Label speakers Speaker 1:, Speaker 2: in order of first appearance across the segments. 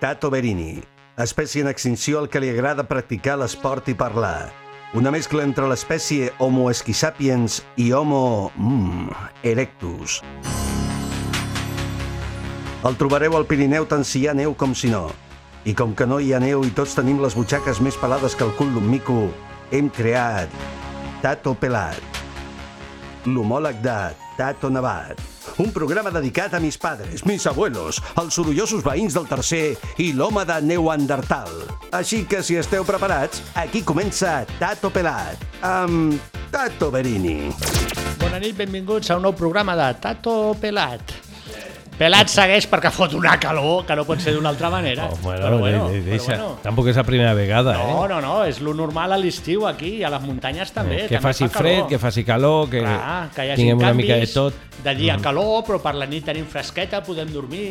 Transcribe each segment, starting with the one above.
Speaker 1: Tato Berini, espècie en extinció al que li agrada practicar l'esport i parlar. Una mescla entre l'espècie Homo esquisapiens i Homo... Mm, erectus. El trobareu al Pirineu tant si hi ha neu com si no. I com que no hi ha neu i tots tenim les butxaques més pelades que el cul d'un mico, hem creat Tato Pelat, l'homòleg de Tato Nevat. Un programa dedicat a mis padres, mis abuelos, els sorollosos veïns del tercer i l'home de Neuandertal. Així que, si esteu preparats, aquí comença Tato Pelat, amb Tato Berini.
Speaker 2: Bona nit, benvinguts a un nou programa de Tato Pelat. Pelat segueix perquè fot una calor que no pot ser d'una altra manera.
Speaker 3: Oh, bueno, però bueno, de, de, deixa. Però bueno. Tampoc és la primera vegada,
Speaker 2: No,
Speaker 3: eh?
Speaker 2: no, no, és lo normal a l'estiu aquí i a les muntanyes també.
Speaker 3: que
Speaker 2: també
Speaker 3: faci
Speaker 2: fa
Speaker 3: fred,
Speaker 2: calor.
Speaker 3: que faci calor, que,
Speaker 2: Clar, que hi hagi
Speaker 3: tinguem una
Speaker 2: canvis,
Speaker 3: mica de tot. Mm.
Speaker 2: D'allí a calor, però per la nit tenim fresqueta, podem dormir,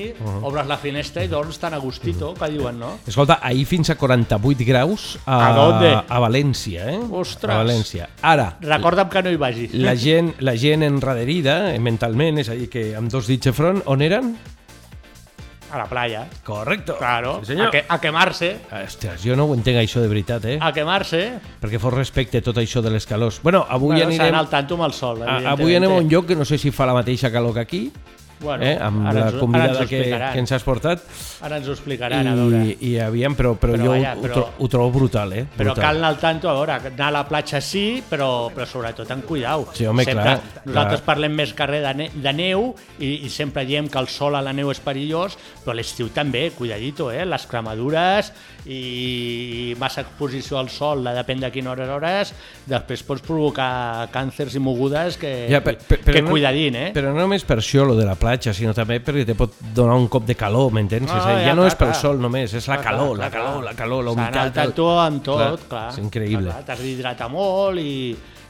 Speaker 2: obres la finestra i dorms tan a gustito, que diuen, no?
Speaker 3: Escolta, ahir fins a 48 graus a,
Speaker 2: A dónde?
Speaker 3: a València, eh?
Speaker 2: Ostres.
Speaker 3: A València. Ara,
Speaker 2: Recorda'm que no hi vagis.
Speaker 3: la gent, la gent enraderida eh, mentalment, és a dir, que amb dos dits de front, on eren?
Speaker 2: A la playa,
Speaker 3: Correcto.
Speaker 2: claro. a,
Speaker 3: Sí, senyor.
Speaker 2: que, a quemarse,
Speaker 3: Ostres, jo no ho entenc això de veritat, eh?
Speaker 2: a quemarse.
Speaker 3: Perquè fos respecte tot això de les calors. Bueno, avui
Speaker 2: bueno, s'ha
Speaker 3: anirem...
Speaker 2: d'anar al tanto amb el sol,
Speaker 3: A, avui anem a un
Speaker 2: evidentment.
Speaker 3: lloc que no sé si fa la mateixa calor que aquí,
Speaker 2: Bueno,
Speaker 3: eh? amb
Speaker 2: ara
Speaker 3: la
Speaker 2: ens ho- ara
Speaker 3: convidada
Speaker 2: ens ho
Speaker 3: que,
Speaker 2: explicaran.
Speaker 3: que ens has portat.
Speaker 2: Ara ens ho explicaran, a veure.
Speaker 3: I, i aviam, però,
Speaker 2: Però
Speaker 3: però, però jo
Speaker 2: vaja,
Speaker 3: vaja,
Speaker 2: però-
Speaker 3: Ho, tro ho trobo brutal, eh?
Speaker 2: Però
Speaker 3: brutal.
Speaker 2: cal anar al tanto, a veure, anar a la platja sí, però, però sobretot en cuidau.
Speaker 3: Sí, home,
Speaker 2: sempre,
Speaker 3: clar,
Speaker 2: Nosaltres
Speaker 3: clar.
Speaker 2: parlem més que res de, ne de neu i, i sempre diem que el sol a la neu és perillós, però a l'estiu també, cuidadito, eh? Les cremadures i massa exposició al sol, la depèn de quina hora hores, després pots provocar càncers i mogudes que,
Speaker 3: Ja, per, per, però
Speaker 2: que cuidadin, eh?
Speaker 3: Però no només per això, lo de la platja, sinó també perquè te pot donar un cop de calor, m'entens?
Speaker 2: Ah,
Speaker 3: Ah, ja,
Speaker 2: ja,
Speaker 3: ja no
Speaker 2: clar,
Speaker 3: és pel
Speaker 2: clar.
Speaker 3: sol només, és la
Speaker 2: Clar,
Speaker 3: calor,
Speaker 2: clar,
Speaker 3: la
Speaker 2: clar,
Speaker 3: calor,
Speaker 2: clar.
Speaker 3: la calor, la
Speaker 2: S'ha d'anar al
Speaker 3: humitat...
Speaker 2: tanto amb tot, clar.
Speaker 3: És increïble.
Speaker 2: Clar, T'has d'hidratar molt i,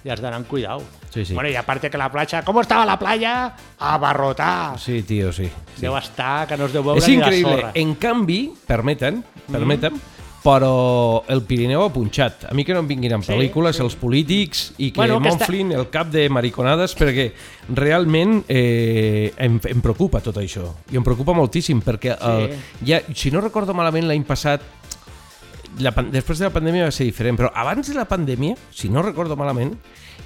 Speaker 2: i has d'anar amb cuidau.
Speaker 3: Sí, sí.
Speaker 2: Bueno, i a part que la platja... Com estava la platja? Abarrotar. Sí,
Speaker 3: Sí, tio, sí.
Speaker 2: sí. Deu estar, que no es deu veure
Speaker 3: És
Speaker 2: ni la
Speaker 3: increïble.
Speaker 2: sorra. Mm.
Speaker 3: En canvi, permeten, permeten, però el Pirineu ha punxat. A mi que no em vinguin amb
Speaker 2: Sí,
Speaker 3: pel·lícules
Speaker 2: sí.
Speaker 3: els polítics i que
Speaker 2: Bueno,
Speaker 3: bueno,
Speaker 2: que està-
Speaker 3: m'omflin el cap de mariconades perquè realment eh, em, em preocupa tot això. I em preocupa moltíssim perquè el, ja, si no recordo malament l'any passat la, pan- després de la pandèmia va ser diferent, però abans de la pandèmia, si no recordo malament,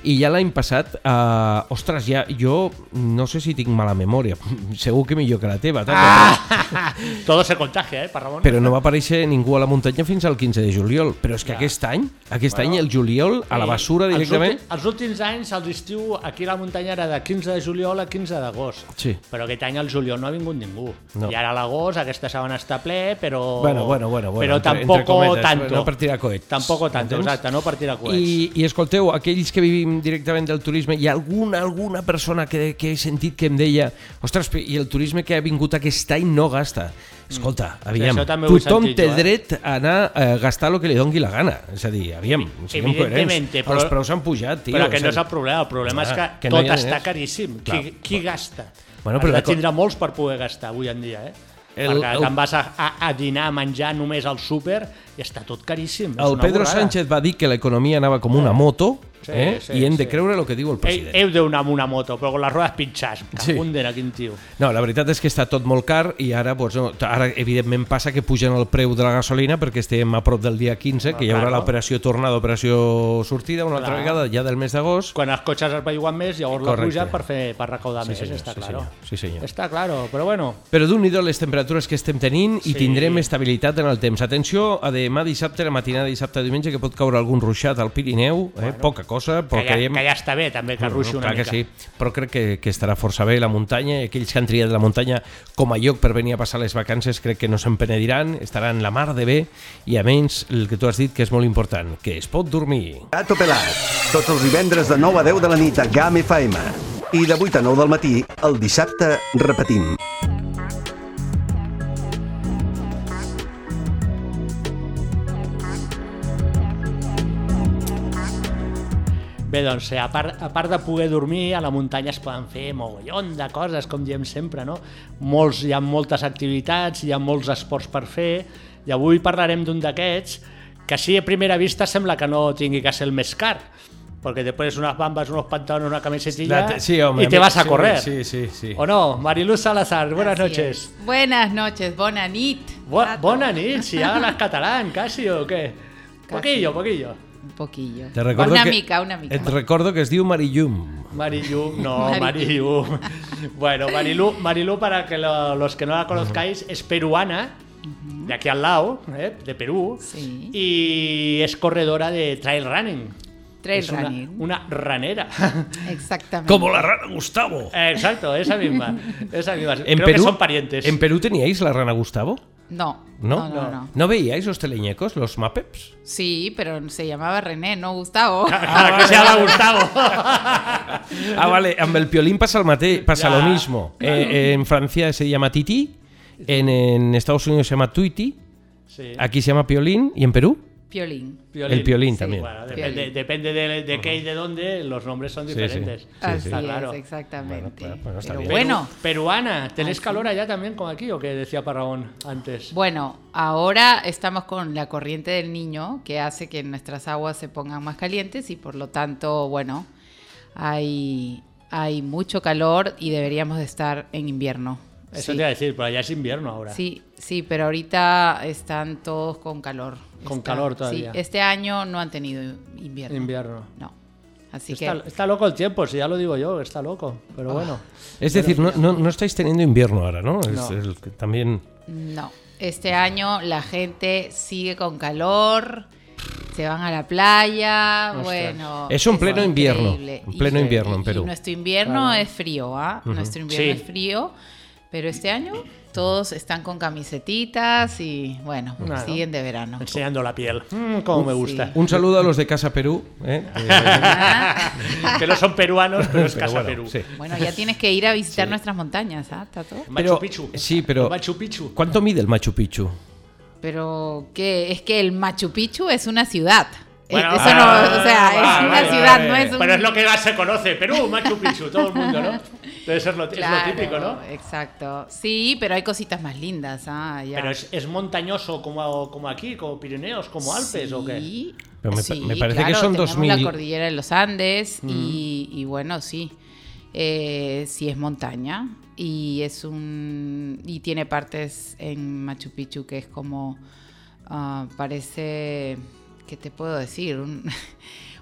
Speaker 3: i ja l'any passat, eh, ostres, ja jo no sé si tinc mala memòria, segur que millor que la teva, tant,
Speaker 2: Ah! Todo se contagia, eh, per Ramon?
Speaker 3: però no va aparèixer ningú a la muntanya fins al 15 de juliol. Però és que aquest any, aquest bueno, any el juliol, a la basura
Speaker 2: Sí,
Speaker 3: directament...
Speaker 2: Els, últims, els últims anys, els estiu aquí a la muntanya era de 15 de juliol a 15 d'agost.
Speaker 3: Sí.
Speaker 2: Però aquest any al juliol no ha vingut ningú.
Speaker 3: No.
Speaker 2: I ara a l'agost, aquesta setmana està ple, però...
Speaker 3: Bueno, bueno, bueno, bueno,
Speaker 2: però
Speaker 3: entre- entre
Speaker 2: tampoc
Speaker 3: cometes,
Speaker 2: tanto.
Speaker 3: no per tirar coets.
Speaker 2: Tampoc tanto,
Speaker 3: Entens?
Speaker 2: exacte, no per tirar coets.
Speaker 3: I, I escolteu, aquells que vivim directament del turisme, hi ha alguna, alguna persona que, que he sentit que em deia ostres, però i el turisme que ha vingut aquest any no gasta. Escolta, aviam,
Speaker 2: Mm. això també ho he
Speaker 3: tothom
Speaker 2: sentit
Speaker 3: té
Speaker 2: jo, eh?
Speaker 3: dret a anar a gastar el que li dongui la gana. És a dir, aviam, siguem coherents.
Speaker 2: Evidentemente, però-
Speaker 3: Els preus han pujat, tio.
Speaker 2: Però que
Speaker 3: és a
Speaker 2: no és
Speaker 3: dir-
Speaker 2: el problema, el problema
Speaker 3: Clar,
Speaker 2: és que,
Speaker 3: que no
Speaker 2: tot
Speaker 3: hi ha
Speaker 2: està
Speaker 3: diners.
Speaker 2: caríssim.
Speaker 3: Clar.
Speaker 2: qui, qui gasta?
Speaker 3: Bueno,
Speaker 2: Bueno,
Speaker 3: però
Speaker 2: però Has de
Speaker 3: d'acord.
Speaker 2: tindre molts per poder gastar avui en dia, eh?
Speaker 3: El-
Speaker 2: El, Perquè
Speaker 3: el-
Speaker 2: el... te'n vas a, a, a dinar, a menjar només al súper i està tot caríssim. és
Speaker 3: El
Speaker 2: una
Speaker 3: Pedro
Speaker 2: borrada.
Speaker 3: Sánchez va dir que l'economia anava com una moto
Speaker 2: Sí,
Speaker 3: eh?
Speaker 2: sí,
Speaker 3: i hem de
Speaker 2: sí.
Speaker 3: creure el que diu el
Speaker 2: Ei,
Speaker 3: president.
Speaker 2: heu d'anar amb una moto, però amb les rodes pitjars.
Speaker 3: Sí.
Speaker 2: Cagun sí. quin tio.
Speaker 3: No, la veritat és que està tot molt car i ara, doncs, no, ara evidentment passa que pugen el preu de la gasolina perquè estem a prop del dia 15, que hi haurà
Speaker 2: Claro.
Speaker 3: l'operació tornada, operació sortida, una altra
Speaker 2: Clar.
Speaker 3: vegada ja del mes d'agost.
Speaker 2: Quan els cotxes es veuen més, llavors
Speaker 3: Correcte.
Speaker 2: la puja per, fer, per recaudar més,
Speaker 3: senyor,
Speaker 2: està
Speaker 3: sí,
Speaker 2: claro.
Speaker 3: senyor, sí, senyor.
Speaker 2: Està claro, però bueno,
Speaker 3: Però d'un i do les temperatures que estem tenint
Speaker 2: Sí.
Speaker 3: i tindrem estabilitat en el temps. Atenció a demà dissabte, la matinada dissabte, diumenge, que pot caure algun ruixat al Pirineu, eh? poca cosa, però
Speaker 2: que ja,
Speaker 3: creiem...
Speaker 2: que ja està bé també que ruixi una
Speaker 3: clar
Speaker 2: mica.
Speaker 3: que sí, però crec que, que estarà força bé la muntanya i aquells que han triat la muntanya com a lloc per venir a passar les vacances crec que no se'n penediran, estaran la mar de bé i a menys el que tu has dit que és molt important, que es pot dormir.
Speaker 1: Tato Pelat, tots els divendres de 9 a 10 de la nit a GAM FM. I de 8 a 9 del matí, el dissabte, repetim.
Speaker 2: Bé, doncs, eh, a part, a part de poder dormir, a la muntanya es poden fer mogollon de coses, com diem sempre, no? Molts, hi ha moltes activitats, hi ha molts esports per fer, i avui parlarem d'un d'aquests que sí, a primera vista sembla que no tingui que ser el més car, Porque te pones unas bambas, unos pantalones, una
Speaker 3: La
Speaker 2: camisetilla
Speaker 3: te- sí, hombre,
Speaker 2: y te
Speaker 3: mí-
Speaker 2: vas a
Speaker 3: sí,
Speaker 2: correr.
Speaker 3: Sí, sí, sí.
Speaker 2: ¿O no? Mariluz Salazar, buenas
Speaker 4: Así
Speaker 2: noches.
Speaker 4: es. Buenas noches, bona nit.
Speaker 2: Bu-
Speaker 4: Tato.
Speaker 2: Bona nit, si hablas catalán, casi o qué? Poquillo, poquillo.
Speaker 4: Un poquillo.
Speaker 3: Te recordo
Speaker 4: una
Speaker 3: que-
Speaker 4: mica, una mica.
Speaker 3: Et recordo que es diu Marillum.
Speaker 2: Marilu, no,
Speaker 4: Marilu.
Speaker 2: Marilu. Bueno, Marilu, Marilu, para que lo- los que no la conozcáis, es peruana, de aquí al lado, ¿eh? de Perú,
Speaker 4: Sí.
Speaker 2: y es corredora de trail running.
Speaker 4: Trail
Speaker 2: Es una-
Speaker 4: running.
Speaker 2: Una ranera.
Speaker 4: Exactamente.
Speaker 3: Como la rana Gustavo.
Speaker 2: Exacto, esa misma. Esa misma.
Speaker 3: En
Speaker 2: Creo
Speaker 3: Perú,
Speaker 2: que son parientes.
Speaker 3: ¿En Perú teníais la rana Gustavo?
Speaker 4: No,
Speaker 3: ¿No?
Speaker 4: no, no. no.
Speaker 3: ¿No veíais los teleñecos, los mapeps?
Speaker 4: Sí, pero se llamaba René, no Gustavo.
Speaker 2: Para Ah, que se llama Gustavo.
Speaker 3: Ah, vale, amb el piolín pasa, el mate- pasa
Speaker 2: Ya,
Speaker 3: lo mismo. Eh, en Francia se llama Titi, en, en Estados Unidos se llama Tuiti,
Speaker 2: Sí.
Speaker 3: aquí se llama piolín y en Perú
Speaker 4: Piolín.
Speaker 3: Ah, el piolín
Speaker 2: Sí,
Speaker 3: también.
Speaker 2: bueno,
Speaker 4: Sí.
Speaker 2: depende, depende de, de qué y de dónde, los nombres son
Speaker 3: Sí, sí.
Speaker 2: diferentes.
Speaker 3: Sí,
Speaker 4: Así
Speaker 2: Está claro.
Speaker 4: es, exactamente.
Speaker 3: Bueno, bueno, está
Speaker 4: pero
Speaker 3: bien.
Speaker 2: Perú-
Speaker 4: bueno,
Speaker 2: Peruana, ¿tenés
Speaker 4: Ah, sí.
Speaker 2: calor allá también como aquí o que decía Parragón antes?
Speaker 4: bueno, ahora estamos con la corriente del niño que hace que nuestras aguas se pongan más calientes y por lo tanto, bueno, hay, hay mucho calor y deberíamos de estar en invierno.
Speaker 2: Eso
Speaker 4: sí.
Speaker 2: te iba a decir, pero allá es invierno ahora.
Speaker 4: Sí, sí, pero ahorita están todos con calor.
Speaker 2: Con
Speaker 4: Está-
Speaker 2: calor
Speaker 4: sí,
Speaker 2: todavía.
Speaker 4: este año no han tenido invierno.
Speaker 2: Invierno.
Speaker 4: No. Así
Speaker 2: Está,
Speaker 4: que
Speaker 2: está loco el tiempo, si ya lo digo yo, está loco. Pero bueno.
Speaker 4: Ah.
Speaker 3: Es decir, no, no- no estáis teniendo invierno ahora, ¿no? Es
Speaker 2: No.
Speaker 3: el que también...
Speaker 4: no. Este año la gente sigue con calor. Se van a la playa,
Speaker 2: Ostras.
Speaker 4: bueno.
Speaker 3: Es un pleno invierno,
Speaker 4: increíble.
Speaker 3: un pleno
Speaker 4: Y-
Speaker 3: invierno en
Speaker 4: y- y
Speaker 3: Perú.
Speaker 4: nuestro invierno
Speaker 2: Claro.
Speaker 4: es frío, ¿ah? Nuestro invierno
Speaker 2: Sí.
Speaker 4: es frío, pero este año todos están con camisetitas y bueno,
Speaker 2: Claro.
Speaker 4: siguen de verano.
Speaker 2: Enseñando la piel. Mm, como me
Speaker 4: Sí.
Speaker 2: gusta.
Speaker 3: Un saludo a los de Casa Perú. ¿eh? Eh,
Speaker 2: que no son peruanos, pero es
Speaker 3: pero
Speaker 2: Casa
Speaker 3: bueno,
Speaker 2: Perú.
Speaker 3: sí.
Speaker 4: Bueno, ya tienes que ir a visitar nuestras montañas, ¿ah, Tato?
Speaker 2: Machu
Speaker 3: Pero-
Speaker 2: Picchu.
Speaker 3: sí, pero-
Speaker 2: Machu Picchu.
Speaker 3: ¿Cuánto mide el Machu Picchu?
Speaker 4: Pero que es que el Machu Picchu es una ciudad.
Speaker 2: Bueno,
Speaker 4: Eh, Eso
Speaker 2: vale,
Speaker 4: no,
Speaker 2: vale,
Speaker 4: o sea,
Speaker 2: vale,
Speaker 4: es
Speaker 2: vale,
Speaker 4: una
Speaker 2: vale,
Speaker 4: ciudad,
Speaker 3: vale.
Speaker 4: no es un
Speaker 2: Pero es lo que más se conoce. Perú, Machu Picchu, todo el mundo, ¿no? Entonces es lo, es lo
Speaker 4: Claro,
Speaker 2: típico, ¿no?
Speaker 4: Exacto. Sí, pero hay cositas más lindas, ah, ya.
Speaker 2: Pero es, es montañoso como, como aquí, como Pirineos, como Alpes o qué.
Speaker 4: Sí.
Speaker 3: Pero me pa-
Speaker 4: sí,
Speaker 3: me parece que
Speaker 4: claro,
Speaker 3: son
Speaker 4: tenemos
Speaker 3: 2000.
Speaker 4: la cordillera de los Andes y, y bueno, sí. Eh, sí es montaña y es un y tiene partes en Machu Picchu que es como ah, parece ¿qué te puedo decir? Un-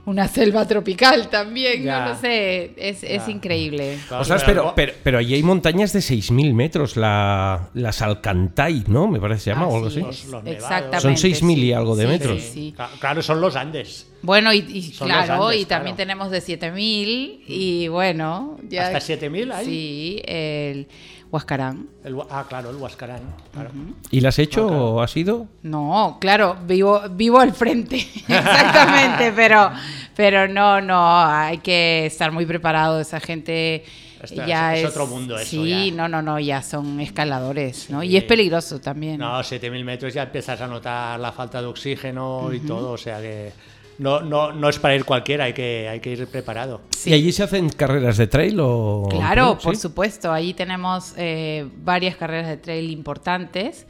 Speaker 4: una selva tropical también,
Speaker 2: Ya.
Speaker 4: no, lo sé, es, es
Speaker 2: Ya.
Speaker 4: increíble.
Speaker 2: Claro,
Speaker 3: Ostras,
Speaker 2: pero-
Speaker 3: pero, pero, pero allí hay montañas de 6.000 metros, la, las Alcantay, ¿no? Me parece que se
Speaker 2: Ah,
Speaker 3: llama o algo así.
Speaker 4: Así es,
Speaker 2: Los- los nevados.
Speaker 4: exactamente,
Speaker 3: Son 6.000 y
Speaker 4: sí,
Speaker 3: algo de
Speaker 4: sí,
Speaker 3: metros.
Speaker 4: sí, sí.
Speaker 2: Ca- Claro, son los Andes.
Speaker 4: Bueno, y, y
Speaker 2: Son los
Speaker 4: claro,
Speaker 2: Andes,
Speaker 4: y también
Speaker 2: claro.
Speaker 4: tenemos de 7000 y bueno, ya
Speaker 2: ¿Hasta 7000 hay?
Speaker 4: Sí, el Huascarán.
Speaker 2: El Hua- ah, claro, el Huascarán. Claro.
Speaker 3: ¿Y las has hecho o has ido?
Speaker 4: No, claro, vivo vivo al frente. Exactamente, pero pero no, no, hay que estar muy preparado, esa gente
Speaker 2: Está-
Speaker 4: ya
Speaker 2: es-
Speaker 4: es,
Speaker 2: es otro mundo eso,
Speaker 4: Sí,
Speaker 2: ya.
Speaker 4: no, no, no, ya son escaladores, ¿no?
Speaker 2: Sí.
Speaker 4: Y es peligroso también.
Speaker 2: No, 7000 metros ya empiezas a notar la falta de oxígeno y todo, o sea que no, no, no es para ir cualquiera, hay que, hay que ir preparado.
Speaker 3: ¿Y allí se hacen carreras de trail o...?
Speaker 4: Claro,
Speaker 3: ¿Sí?
Speaker 4: por supuesto. Ahí tenemos eh, varias carreras de trail importantes.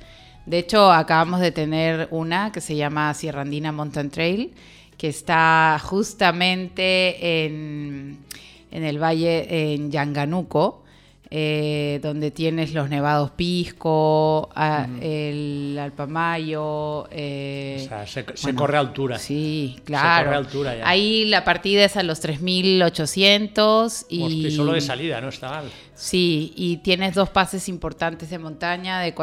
Speaker 4: De hecho, acabamos de tener una que se llama Sierra Andina Mountain Trail, que está justamente en, en el valle en Yanganuco, eh, donde tienes los nevados Pisco, a- el Alpamayo. eh,
Speaker 2: O sea, se, se
Speaker 4: bueno,
Speaker 2: corre a altura.
Speaker 4: Sí,
Speaker 2: Se corre
Speaker 4: claro.
Speaker 2: a altura ya.
Speaker 4: Ahí la partida es a los 3.800 y...
Speaker 2: Hostia, y solo de salida, ¿no? Está mal.
Speaker 4: Sí, y tienes dos pases importantes de montaña de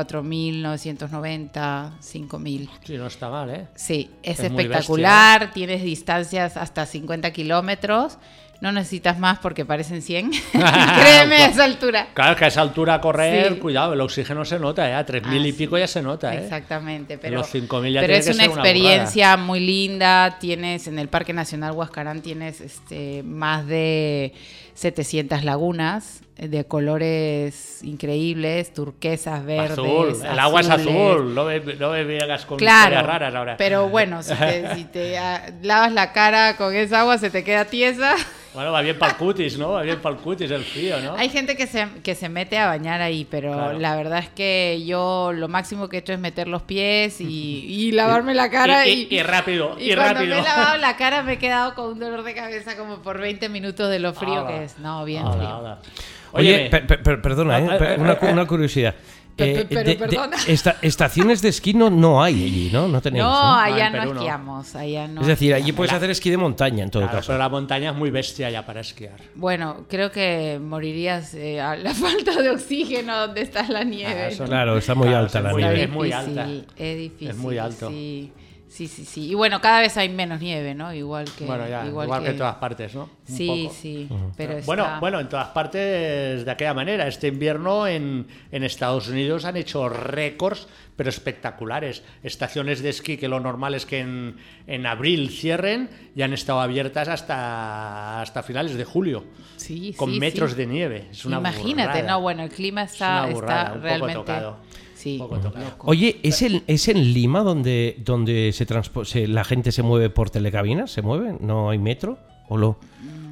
Speaker 4: 4.990, 5.000.
Speaker 2: Sí, no está mal, ¿eh?
Speaker 4: Sí, es,
Speaker 2: Es muy
Speaker 4: espectacular, tienes distancias hasta 50 kilómetros, no necesitas más porque parecen 100. Créeme a esa altura.
Speaker 2: Claro, que a esa altura correr,
Speaker 4: Sí.
Speaker 2: cuidado, el oxígeno se nota, ¿eh? A 3.000 y
Speaker 4: Ah, sí.
Speaker 2: pico ya se nota, ¿eh?
Speaker 4: Exactamente, pero,
Speaker 2: Los 5.000 ya
Speaker 4: pero
Speaker 2: tiene
Speaker 4: es
Speaker 2: que
Speaker 4: una
Speaker 2: ser una
Speaker 4: experiencia muy linda. Tienes en el Parque Nacional Huascarán tienes este, más de 700 lagunas eh, de colores increíbles, turquesas, verdes.
Speaker 2: Azul, el agua es
Speaker 4: azules.
Speaker 2: azul, no me, no me vengas con historias
Speaker 4: Claro,
Speaker 2: raras ahora.
Speaker 4: pero bueno, si te, si te, ah, lavas la cara con esa agua se te queda tiesa.
Speaker 2: Bueno, va bien para el cutis, ¿no? Va bien para el cutis el frío, ¿no?
Speaker 4: Hay gente que se, que se mete a bañar ahí, pero
Speaker 2: Claro.
Speaker 4: la verdad es que yo lo máximo que he hecho es meter los pies y, y lavarme la cara.
Speaker 2: y,
Speaker 4: Y,
Speaker 2: y- y rápido, y,
Speaker 4: y cuando
Speaker 2: rápido.
Speaker 4: me he lavado la cara me he quedado con un dolor de cabeza como por 20 minutos de lo frío
Speaker 2: Ala.
Speaker 4: que es. No, Oh, bien
Speaker 2: Ala,
Speaker 4: frío.
Speaker 2: ala.
Speaker 3: Oye,
Speaker 2: Óyeme,
Speaker 3: per- per- per- perdona,
Speaker 2: Ah,
Speaker 3: eh,
Speaker 2: ah,
Speaker 3: per-
Speaker 2: ah,
Speaker 3: una,
Speaker 2: ah,
Speaker 3: una curiosidad.
Speaker 4: Pe-
Speaker 3: Eh,
Speaker 4: pe- pero perdona.
Speaker 3: esta- estaciones de esquí no, no hay allí, ¿no? No tenéis.
Speaker 4: No,
Speaker 3: ¿no?
Speaker 2: hay- Ah,
Speaker 4: allá
Speaker 2: en
Speaker 4: no
Speaker 2: Perú no.
Speaker 4: esquiamos, allá no.
Speaker 3: es decir, allí
Speaker 4: esquiamos.
Speaker 3: puedes hacer esquí de montaña en todo
Speaker 2: claro,
Speaker 3: caso.
Speaker 2: pero la montaña es muy bestia ya para esquiar.
Speaker 4: Bueno, creo que morirías eh, a la falta de oxígeno donde está la nieve.
Speaker 2: Ah, eso
Speaker 4: ¿no?
Speaker 3: Claro, está muy alta
Speaker 2: es
Speaker 3: la
Speaker 2: muy-
Speaker 3: nieve.
Speaker 2: Es muy
Speaker 4: difícil,
Speaker 2: alta.
Speaker 4: Es difícil.
Speaker 2: Es muy alto.
Speaker 4: Sí. sí, sí, sí. Y bueno, cada vez hay menos nieve, ¿no? Igual que.
Speaker 2: Bueno, ya, igual, que... en todas partes, ¿no? Un
Speaker 4: Sí,
Speaker 2: poco.
Speaker 4: sí. Pero está...
Speaker 2: Bueno, bueno, en todas partes de aquella manera. Este invierno en, en Estados Unidos han hecho récords, pero espectaculares. Estaciones de esquí que lo normal es que en, en abril cierren y han estado abiertas hasta, hasta finales de julio,
Speaker 4: Sí,
Speaker 2: con
Speaker 4: sí,
Speaker 2: metros
Speaker 4: sí.
Speaker 2: de nieve. Es una
Speaker 4: Imagínate,
Speaker 2: burrada.
Speaker 4: no, bueno, el clima está,
Speaker 2: Es una burrada, un
Speaker 4: está
Speaker 2: poco
Speaker 4: realmente.
Speaker 2: tocado.
Speaker 4: Sí.
Speaker 2: Un poco tocado.
Speaker 4: loco.
Speaker 3: Oye, ¿es, el, ¿es en Lima donde, donde se, transpo- se- la gente se mueve por telecabinas? ¿Se mueve? ¿No hay metro? ¿O, lo,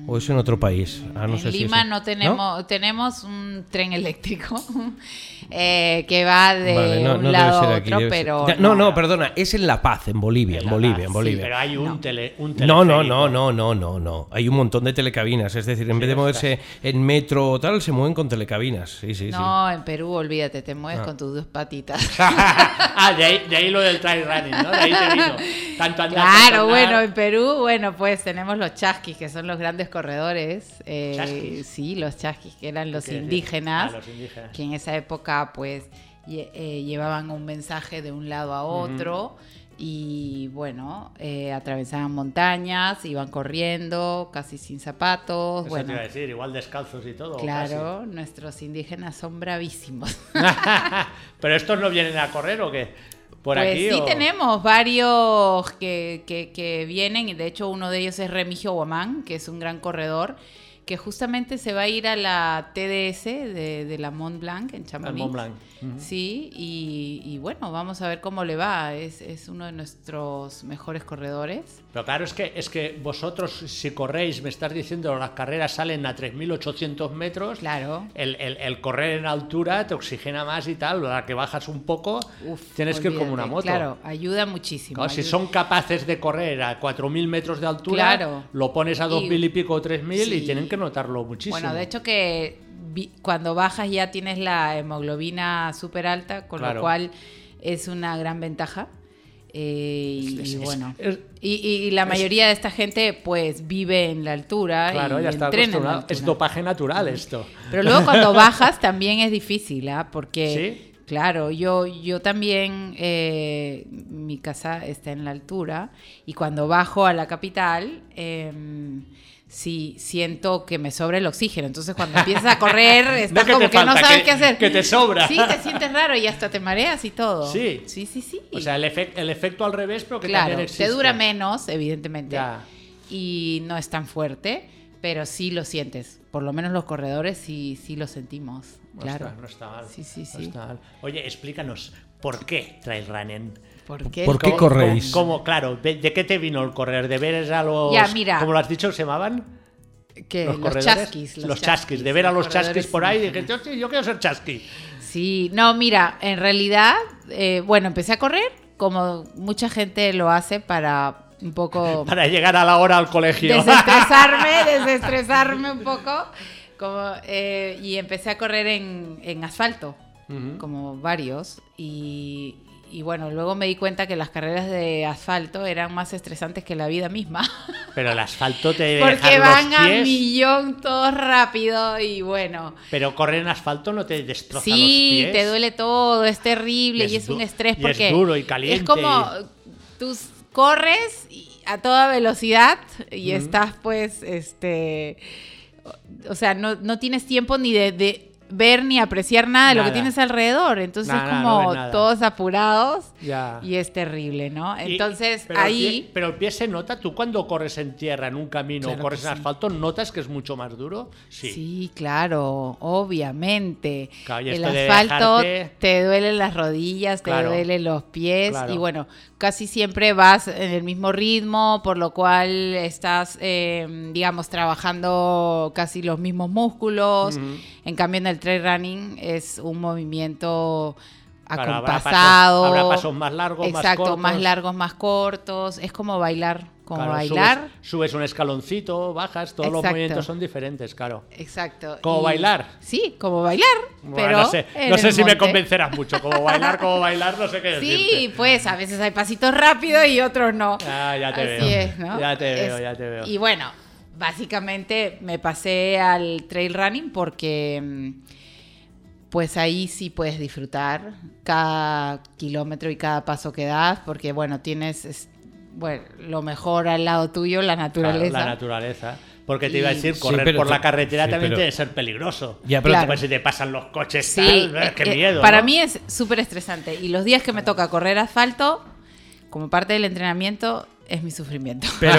Speaker 3: o es en otro país? Ah, no
Speaker 4: en
Speaker 3: sé si
Speaker 4: Lima
Speaker 3: es-
Speaker 4: no tenemos tenemos un tren eléctrico eh, que va de
Speaker 3: Vale, no-
Speaker 4: un
Speaker 3: no debe
Speaker 4: lado
Speaker 3: ser
Speaker 4: a
Speaker 3: aquí,
Speaker 4: otro,
Speaker 3: debe ser-
Speaker 4: pero
Speaker 3: Ya, No, no, perdona, es en La Paz, en Bolivia, en,
Speaker 2: La
Speaker 3: Bolivia,
Speaker 2: verdad,
Speaker 3: en
Speaker 2: sí,
Speaker 3: Bolivia.
Speaker 2: pero hay un, tele, un
Speaker 3: No, no,
Speaker 2: teleférico.
Speaker 3: no, no, no, no, no. Hay un montón de telecabinas. Es decir, en vez de moverse en metro o tal, se mueven con telecabinas. Sí, sí, Ah. sí.
Speaker 4: No, en Perú, olvídate, te mueves con tus dos patitas.
Speaker 2: ah, de ahí, de ahí lo del trail running, ¿no? De ahí te vino. Tanto andar, tanto
Speaker 4: Claro,
Speaker 2: andar.
Speaker 4: bueno, en Perú, bueno, pues tenemos los chasquis, que son los grandes corredores. eh,
Speaker 2: ¿Chasquis?
Speaker 4: sí, los chasquis, que eran los
Speaker 2: quiere decir?
Speaker 4: indígenas,
Speaker 2: Ah, los indígenas.
Speaker 4: que en esa época, pues, lle- eh, llevaban un mensaje de un lado a otro. Y bueno, eh, atravesaban montañas, iban corriendo, casi sin zapatos.
Speaker 2: Eso te
Speaker 4: bueno,
Speaker 2: iba a decir, igual descalzos y todo. o
Speaker 4: claro, nuestros indígenas son bravísimos.
Speaker 2: casi. Pero estos no vienen a correr o qué? Por
Speaker 4: pues
Speaker 2: aquí.
Speaker 4: sí
Speaker 2: o-
Speaker 4: tenemos varios que, que, que vienen, y de hecho uno de ellos es Remigio Guamán, que es un gran corredor, que justamente se va a ir a la TDS de, de la Mont Blanc en Chamonix.
Speaker 2: Mont Blanc,
Speaker 4: Sí, y, y bueno, vamos a ver cómo le va, es, es uno de nuestros mejores corredores.
Speaker 2: Pero claro, es que, es que vosotros, si corréis, me estás diciendo, las carreras salen a 3.800 metros.
Speaker 4: Claro.
Speaker 2: El, el- el correr en altura te oxigena más y tal. La que bajas un poco,
Speaker 4: Uf,
Speaker 2: tienes que ir como
Speaker 4: olvídate.
Speaker 2: una moto.
Speaker 4: Claro, ayuda muchísimo.
Speaker 2: Claro, si
Speaker 4: ayuda.
Speaker 2: son capaces de correr a 4.000 metros de altura,
Speaker 4: Claro.
Speaker 2: lo pones a
Speaker 4: Y-
Speaker 2: 2.000 y, pico o 3.000 y
Speaker 4: Sí.
Speaker 2: tienen que notarlo muchísimo.
Speaker 4: Bueno, de hecho que vi- cuando bajas ya tienes la hemoglobina súper alta, con
Speaker 2: Claro.
Speaker 4: lo cual es una gran ventaja. Eh, y,
Speaker 2: Es- es-
Speaker 4: y bueno,
Speaker 2: es-
Speaker 4: y, y- y la mayoría de esta gente pues vive en la altura
Speaker 2: claro,
Speaker 4: y
Speaker 2: ya está
Speaker 4: entrena en la
Speaker 2: acostumbrado. Es
Speaker 4: altura.
Speaker 2: dopaje natural esto.
Speaker 4: Pero luego cuando bajas también es difícil, ¿ah? Porque,
Speaker 2: ¿Sí?
Speaker 4: claro, yo, yo también, eh, mi casa está en la altura y cuando bajo a la capital, eh, sí siento que me sobra el oxígeno. Entonces cuando empiezas a correr,
Speaker 2: No
Speaker 4: estás
Speaker 2: que
Speaker 4: como
Speaker 2: te
Speaker 4: que no
Speaker 2: falta,
Speaker 4: sabes
Speaker 2: que-
Speaker 4: qué hacer.
Speaker 2: que te sobra.
Speaker 4: Sí, te sientes raro y hasta te mareas y todo.
Speaker 2: Sí.
Speaker 4: Sí, sí, sí.
Speaker 2: O sea, el, efec- el efecto al revés, pero que
Speaker 4: claro,
Speaker 2: también existe.
Speaker 4: te dura menos, evidentemente.
Speaker 2: Ya.
Speaker 4: Y no es tan fuerte, pero sí lo sientes. Por lo menos los corredores sí, sí lo sentimos.
Speaker 2: No
Speaker 4: Claro.
Speaker 2: está- no está mal.
Speaker 4: Sí, sí,
Speaker 2: no
Speaker 4: sí.
Speaker 2: está mal. Oye, explícanos, ¿por qué trail running?
Speaker 4: ¿Por qué?
Speaker 3: ¿Por qué
Speaker 2: ¿Cómo-
Speaker 3: corréis?
Speaker 2: cómo- cómo- claro, ¿de, de qué te vino el correr? ¿De ver a los.
Speaker 4: Ya, mira.
Speaker 2: ¿Cómo lo has dicho? ¿Se llamaban?
Speaker 4: Que los,
Speaker 2: corredores?
Speaker 4: chasquis.
Speaker 2: Los, chasquis, De ver a los chasquis
Speaker 4: corredores
Speaker 2: por ahí, dije,
Speaker 4: indígenas.
Speaker 2: yo, yo quiero ser chasqui.
Speaker 4: Sí, no, mira, en realidad, eh, bueno, empecé a correr como mucha gente lo hace para un poco
Speaker 2: Para llegar a la hora al colegio.
Speaker 4: desestresarme, desestresarme un poco. Como, eh, y empecé a correr en, en asfalto, como varios. Y, y bueno, luego me di cuenta que las carreras de asfalto eran más estresantes que la vida misma.
Speaker 2: Pero el asfalto te debe
Speaker 4: Porque
Speaker 2: dejar
Speaker 4: van
Speaker 2: los
Speaker 4: a
Speaker 2: pies,
Speaker 4: millón todos rápido y bueno.
Speaker 2: Pero correr en asfalto no te destroza los
Speaker 4: Sí,
Speaker 2: pies.
Speaker 4: te duele todo, es terrible
Speaker 2: Y
Speaker 4: y,
Speaker 2: es
Speaker 4: es un
Speaker 2: du-
Speaker 4: estrés
Speaker 2: y es
Speaker 4: porque
Speaker 2: duro y caliente
Speaker 4: Es como tú s- corres y- a toda velocidad y estás pues este o- o sea, no, no tienes tiempo ni de, de ver ni apreciar nada, de lo que
Speaker 2: Nada.
Speaker 4: tienes alrededor. Entonces
Speaker 2: Nada,
Speaker 4: es
Speaker 2: no
Speaker 4: como
Speaker 2: ves nada.
Speaker 4: todos apurados
Speaker 2: Ya.
Speaker 4: y es terrible, ¿no?
Speaker 2: Y-
Speaker 4: Entonces
Speaker 2: pero el
Speaker 4: ahí...
Speaker 2: pie- pero el pie se nota, tú cuando corres en tierra, en un camino,
Speaker 4: Claro
Speaker 2: o corres
Speaker 4: que
Speaker 2: en
Speaker 4: sí.
Speaker 2: asfalto, ¿notas que es mucho más duro?
Speaker 4: Sí.
Speaker 2: Sí.
Speaker 4: claro, obviamente.
Speaker 2: Claro, y
Speaker 4: el
Speaker 2: esto de
Speaker 4: asfalto
Speaker 2: dejarte-
Speaker 4: te duelen las rodillas, te
Speaker 2: Claro.
Speaker 4: duelen los pies
Speaker 2: Claro.
Speaker 4: y bueno, casi siempre vas en el mismo ritmo, por lo cual estás, eh, digamos, trabajando casi los mismos músculos. En cambio, en el trail running es un movimiento
Speaker 2: Claro, habrá
Speaker 4: acompasado.
Speaker 2: pasos- habrá pasos más largos, más
Speaker 4: Exacto, más
Speaker 2: cortos.
Speaker 4: largos, más cortos. Es como bailar, como
Speaker 2: Claro,
Speaker 4: bailar.
Speaker 2: Subes, subes un escaloncito, bajas, todos los
Speaker 4: Exacto.
Speaker 2: movimientos son diferentes, claro.
Speaker 4: Exacto.
Speaker 2: ¿Como bailar?
Speaker 4: Sí, como bailar.
Speaker 2: Bueno,
Speaker 4: pero
Speaker 2: no sé,
Speaker 4: en
Speaker 2: no sé
Speaker 4: el
Speaker 2: si me
Speaker 4: monte.
Speaker 2: convencerás mucho. Como bailar, como bailar, no sé qué
Speaker 4: Sí,
Speaker 2: decirte.
Speaker 4: pues a veces hay pasitos rápidos y otros no.
Speaker 2: Ah, ya te
Speaker 4: Así
Speaker 2: veo.
Speaker 4: es, ¿no?
Speaker 2: Ya te
Speaker 4: Es-
Speaker 2: veo, ya te veo.
Speaker 4: Y bueno, básicamente me pasé al trail running porque mm, pues ahí sí puedes disfrutar cada kilómetro y cada paso que das porque bueno, tienes es- bueno, lo mejor al lado tuyo, la
Speaker 2: Claro,
Speaker 4: naturaleza.
Speaker 2: la naturaleza. Porque te iba a
Speaker 4: Y-
Speaker 2: decir,
Speaker 3: Sí,
Speaker 2: correr
Speaker 3: pero
Speaker 2: por
Speaker 3: tú-
Speaker 2: la carretera
Speaker 3: sí,
Speaker 2: también
Speaker 3: pero-
Speaker 2: tiene que ser peligroso.
Speaker 3: Ya, pero-
Speaker 4: Claro.
Speaker 2: Pues si te pasan los coches,
Speaker 4: Sí,
Speaker 2: tal, Ah, qué
Speaker 4: eh,
Speaker 2: miedo.
Speaker 4: Para
Speaker 2: ¿no?
Speaker 4: mí es súper estresante. Y los días que me toca correr asfalto, como parte del entrenamiento, es mi sufrimiento.
Speaker 3: Pero,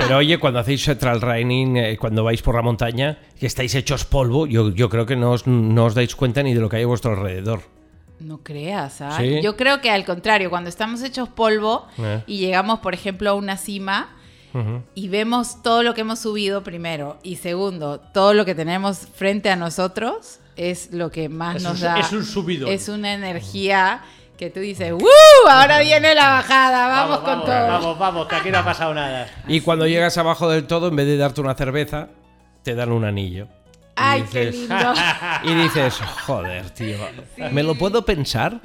Speaker 3: pero oye, cuando hacéis eh, trail running, eh, cuando vais por la montaña, que estáis hechos polvo, yo, yo creo que no os, no os dais cuenta ni de lo que hay a vuestro alrededor.
Speaker 4: No creas, ¿ah?
Speaker 3: Sí.
Speaker 4: Yo creo que al contrario, cuando estamos hechos polvo
Speaker 3: Eh.
Speaker 4: y llegamos, por ejemplo, a una cima
Speaker 3: Ujú.
Speaker 4: y vemos todo lo que hemos subido primero y segundo, todo lo que tenemos frente a nosotros, es lo que más
Speaker 2: Es
Speaker 4: nos
Speaker 2: un-
Speaker 4: da.
Speaker 2: es un subidón.
Speaker 4: Es una energía que tú dices, ¡Uh! Ahora viene la bajada, vamos, con
Speaker 2: vamos,
Speaker 4: todo.
Speaker 2: Vamos, vamos, que aquí no ha pasado nada.
Speaker 3: Y cuando llegas abajo del todo, en vez de darte una cerveza, te dan un anillo. Y
Speaker 4: ¡Ay, qué
Speaker 3: dices-
Speaker 4: lindo!
Speaker 3: Y dices, joder, tío, ¿me lo puedo pensar?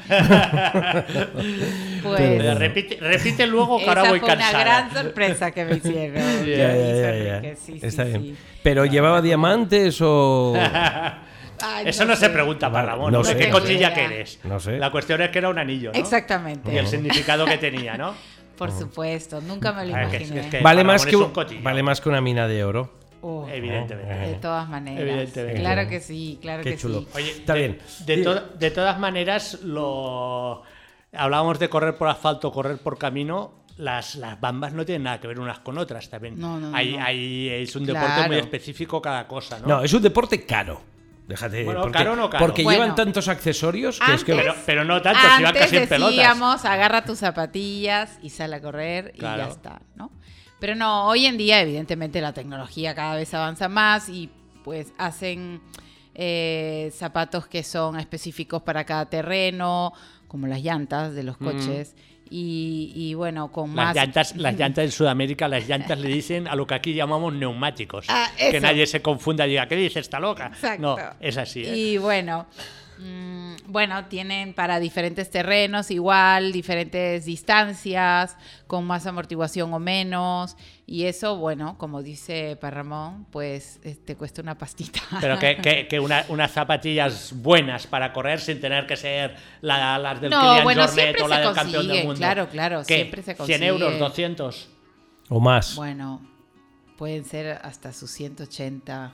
Speaker 4: Pues,
Speaker 2: Eh, Repite, repite luego que ahora
Speaker 4: Esa
Speaker 2: Oh, voy
Speaker 4: fue
Speaker 2: cansada.
Speaker 4: una gran sorpresa que me hicieron.
Speaker 2: Ya,
Speaker 4: Me
Speaker 3: Ya, ya,
Speaker 4: hizo
Speaker 3: ya, ya.
Speaker 4: Enrique, sí, sí,
Speaker 3: Está bien.
Speaker 4: sí.
Speaker 3: ¿Pero llevaba diamantes o...?
Speaker 4: Ay,
Speaker 2: Eso no se
Speaker 4: sé.
Speaker 2: pregunta para
Speaker 3: No
Speaker 2: Ramón.
Speaker 3: sé.
Speaker 2: de ¿Qué
Speaker 3: No
Speaker 2: cotilla
Speaker 4: sé.
Speaker 2: que eres?
Speaker 3: No sé.
Speaker 2: La cuestión es que era un anillo, ¿no?
Speaker 4: Exactamente.
Speaker 2: Y el significado que tenía, ¿no?
Speaker 4: Por supuesto, nunca me lo
Speaker 2: Ah, que- es
Speaker 4: imaginé.
Speaker 2: que-
Speaker 3: Vale
Speaker 2: Ramón
Speaker 3: más,
Speaker 2: es
Speaker 3: que
Speaker 2: un
Speaker 3: un-
Speaker 2: cotilla.
Speaker 3: vale más que una mina de oro.
Speaker 4: Oh,
Speaker 2: Evidentemente.
Speaker 4: de todas maneras.
Speaker 2: Evidentemente.
Speaker 4: Claro que sí, claro
Speaker 3: Qué
Speaker 4: que
Speaker 3: chulo.
Speaker 4: sí.
Speaker 2: Oye,
Speaker 3: Está
Speaker 2: de,
Speaker 3: bien.
Speaker 2: De, to- de todas maneras, lo hablábamos de correr por asfalto, correr por camino. Las, las bambas no tienen nada que ver unas con otras también.
Speaker 4: No, no, no,
Speaker 2: Hay-
Speaker 4: no.
Speaker 2: hay- es un deporte
Speaker 4: Claro.
Speaker 2: muy específico cada cosa, ¿no?
Speaker 3: No, es un deporte caro. Déjate.
Speaker 2: Bueno,
Speaker 3: porque,
Speaker 2: caro no caro.
Speaker 3: Porque
Speaker 4: Bueno. Ah,
Speaker 3: llevan tantos accesorios que es que.
Speaker 2: Pero-
Speaker 4: Antes-
Speaker 2: pero no tanto, si iban
Speaker 4: Antes
Speaker 2: casi en pelotas.
Speaker 4: decíamos, agarra tus zapatillas y sal a correr y
Speaker 2: Claro.
Speaker 4: ya está, ¿no? Pero no, hoy en día evidentemente la tecnología cada vez avanza más y pues hacen eh, zapatos que son específicos para cada terreno, como las llantas de los coches. Y, y bueno, con
Speaker 2: Mm. Las
Speaker 4: más...
Speaker 2: llantas, las llantas en Sudamérica, las llantas le dicen a lo que aquí llamamos neumáticos.
Speaker 4: Ah,
Speaker 2: que
Speaker 4: eso.
Speaker 2: nadie se confunda y diga, ¿qué dices, está loca?
Speaker 4: Exacto.
Speaker 2: No, es así. ¿eh?
Speaker 4: Y bueno, mm, bueno, tienen para diferentes terrenos igual, diferentes distancias, con más amortiguación o menos. Y eso, bueno, como dice Parramón, pues eh, te cuesta una pastita.
Speaker 2: Pero que, que- que una- unas zapatillas buenas para correr sin tener que ser la- las del
Speaker 4: No,
Speaker 2: Kilian
Speaker 4: bueno,
Speaker 2: Jornet
Speaker 4: siempre
Speaker 2: o la
Speaker 4: se
Speaker 2: del campeón del
Speaker 4: consigue,
Speaker 2: mundo.
Speaker 4: claro, claro,
Speaker 2: ¿Qué?
Speaker 4: siempre se
Speaker 2: 100
Speaker 4: consigue.
Speaker 2: euros, 200.
Speaker 3: O más.
Speaker 4: Bueno, pueden ser hasta sus 180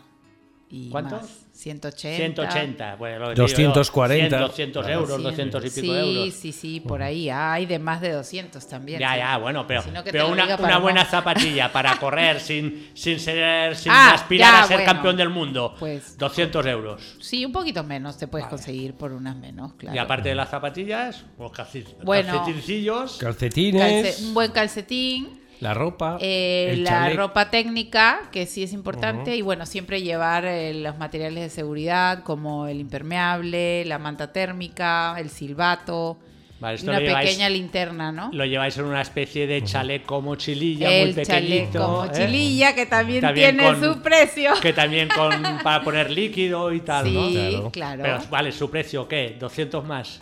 Speaker 4: y
Speaker 2: ¿Cuántos?
Speaker 4: más. 180.
Speaker 2: 180. Bueno, lo que
Speaker 3: 240.
Speaker 2: 100, 200 euros, 200 y pico
Speaker 4: sí,
Speaker 2: euros.
Speaker 4: Sí, sí, por ahí. Ah, Hay de más de 200 también.
Speaker 2: Ya,
Speaker 4: sí.
Speaker 2: ya, bueno, pero,
Speaker 4: Si no, que te
Speaker 2: pero
Speaker 4: lo
Speaker 2: una,
Speaker 4: diga
Speaker 2: una
Speaker 4: Paloma.
Speaker 2: buena zapatilla para correr sin, sin ser sin
Speaker 4: Ah,
Speaker 2: aspirar
Speaker 4: ya,
Speaker 2: a ser
Speaker 4: bueno.
Speaker 2: campeón del mundo.
Speaker 4: Pues-
Speaker 2: 200 euros.
Speaker 4: Sí, un poquito menos te puedes conseguir por unas menos, claro.
Speaker 2: Y aparte de las zapatillas, pues los
Speaker 4: Bueno.
Speaker 2: calcetincillos.
Speaker 3: Calcetines.
Speaker 4: Calce- un buen calcetín,
Speaker 3: La
Speaker 2: Ah,
Speaker 3: ropa.
Speaker 4: eh,
Speaker 3: el
Speaker 4: la
Speaker 3: chaleco.
Speaker 4: ropa técnica, que sí es importante, y bueno, siempre llevar eh, los materiales de seguridad como el impermeable, la manta térmica, el silbato,
Speaker 2: Vale, Ah,
Speaker 4: y
Speaker 2: esto
Speaker 4: una
Speaker 2: lo lleváis-
Speaker 4: pequeña linterna, ¿no?
Speaker 2: Lo lleváis en una especie de chaleco mochililla muy
Speaker 4: el
Speaker 2: pequeñito.
Speaker 4: chaleco
Speaker 2: ¿eh?
Speaker 4: mochililla, que también,
Speaker 2: También
Speaker 4: tiene
Speaker 2: con-
Speaker 4: su precio.
Speaker 2: Que también con, para poner líquido y tal, ¿no?
Speaker 4: sí,
Speaker 3: Claro.
Speaker 4: claro.
Speaker 2: Pero vale, su precio, ¿qué? ¿200 más?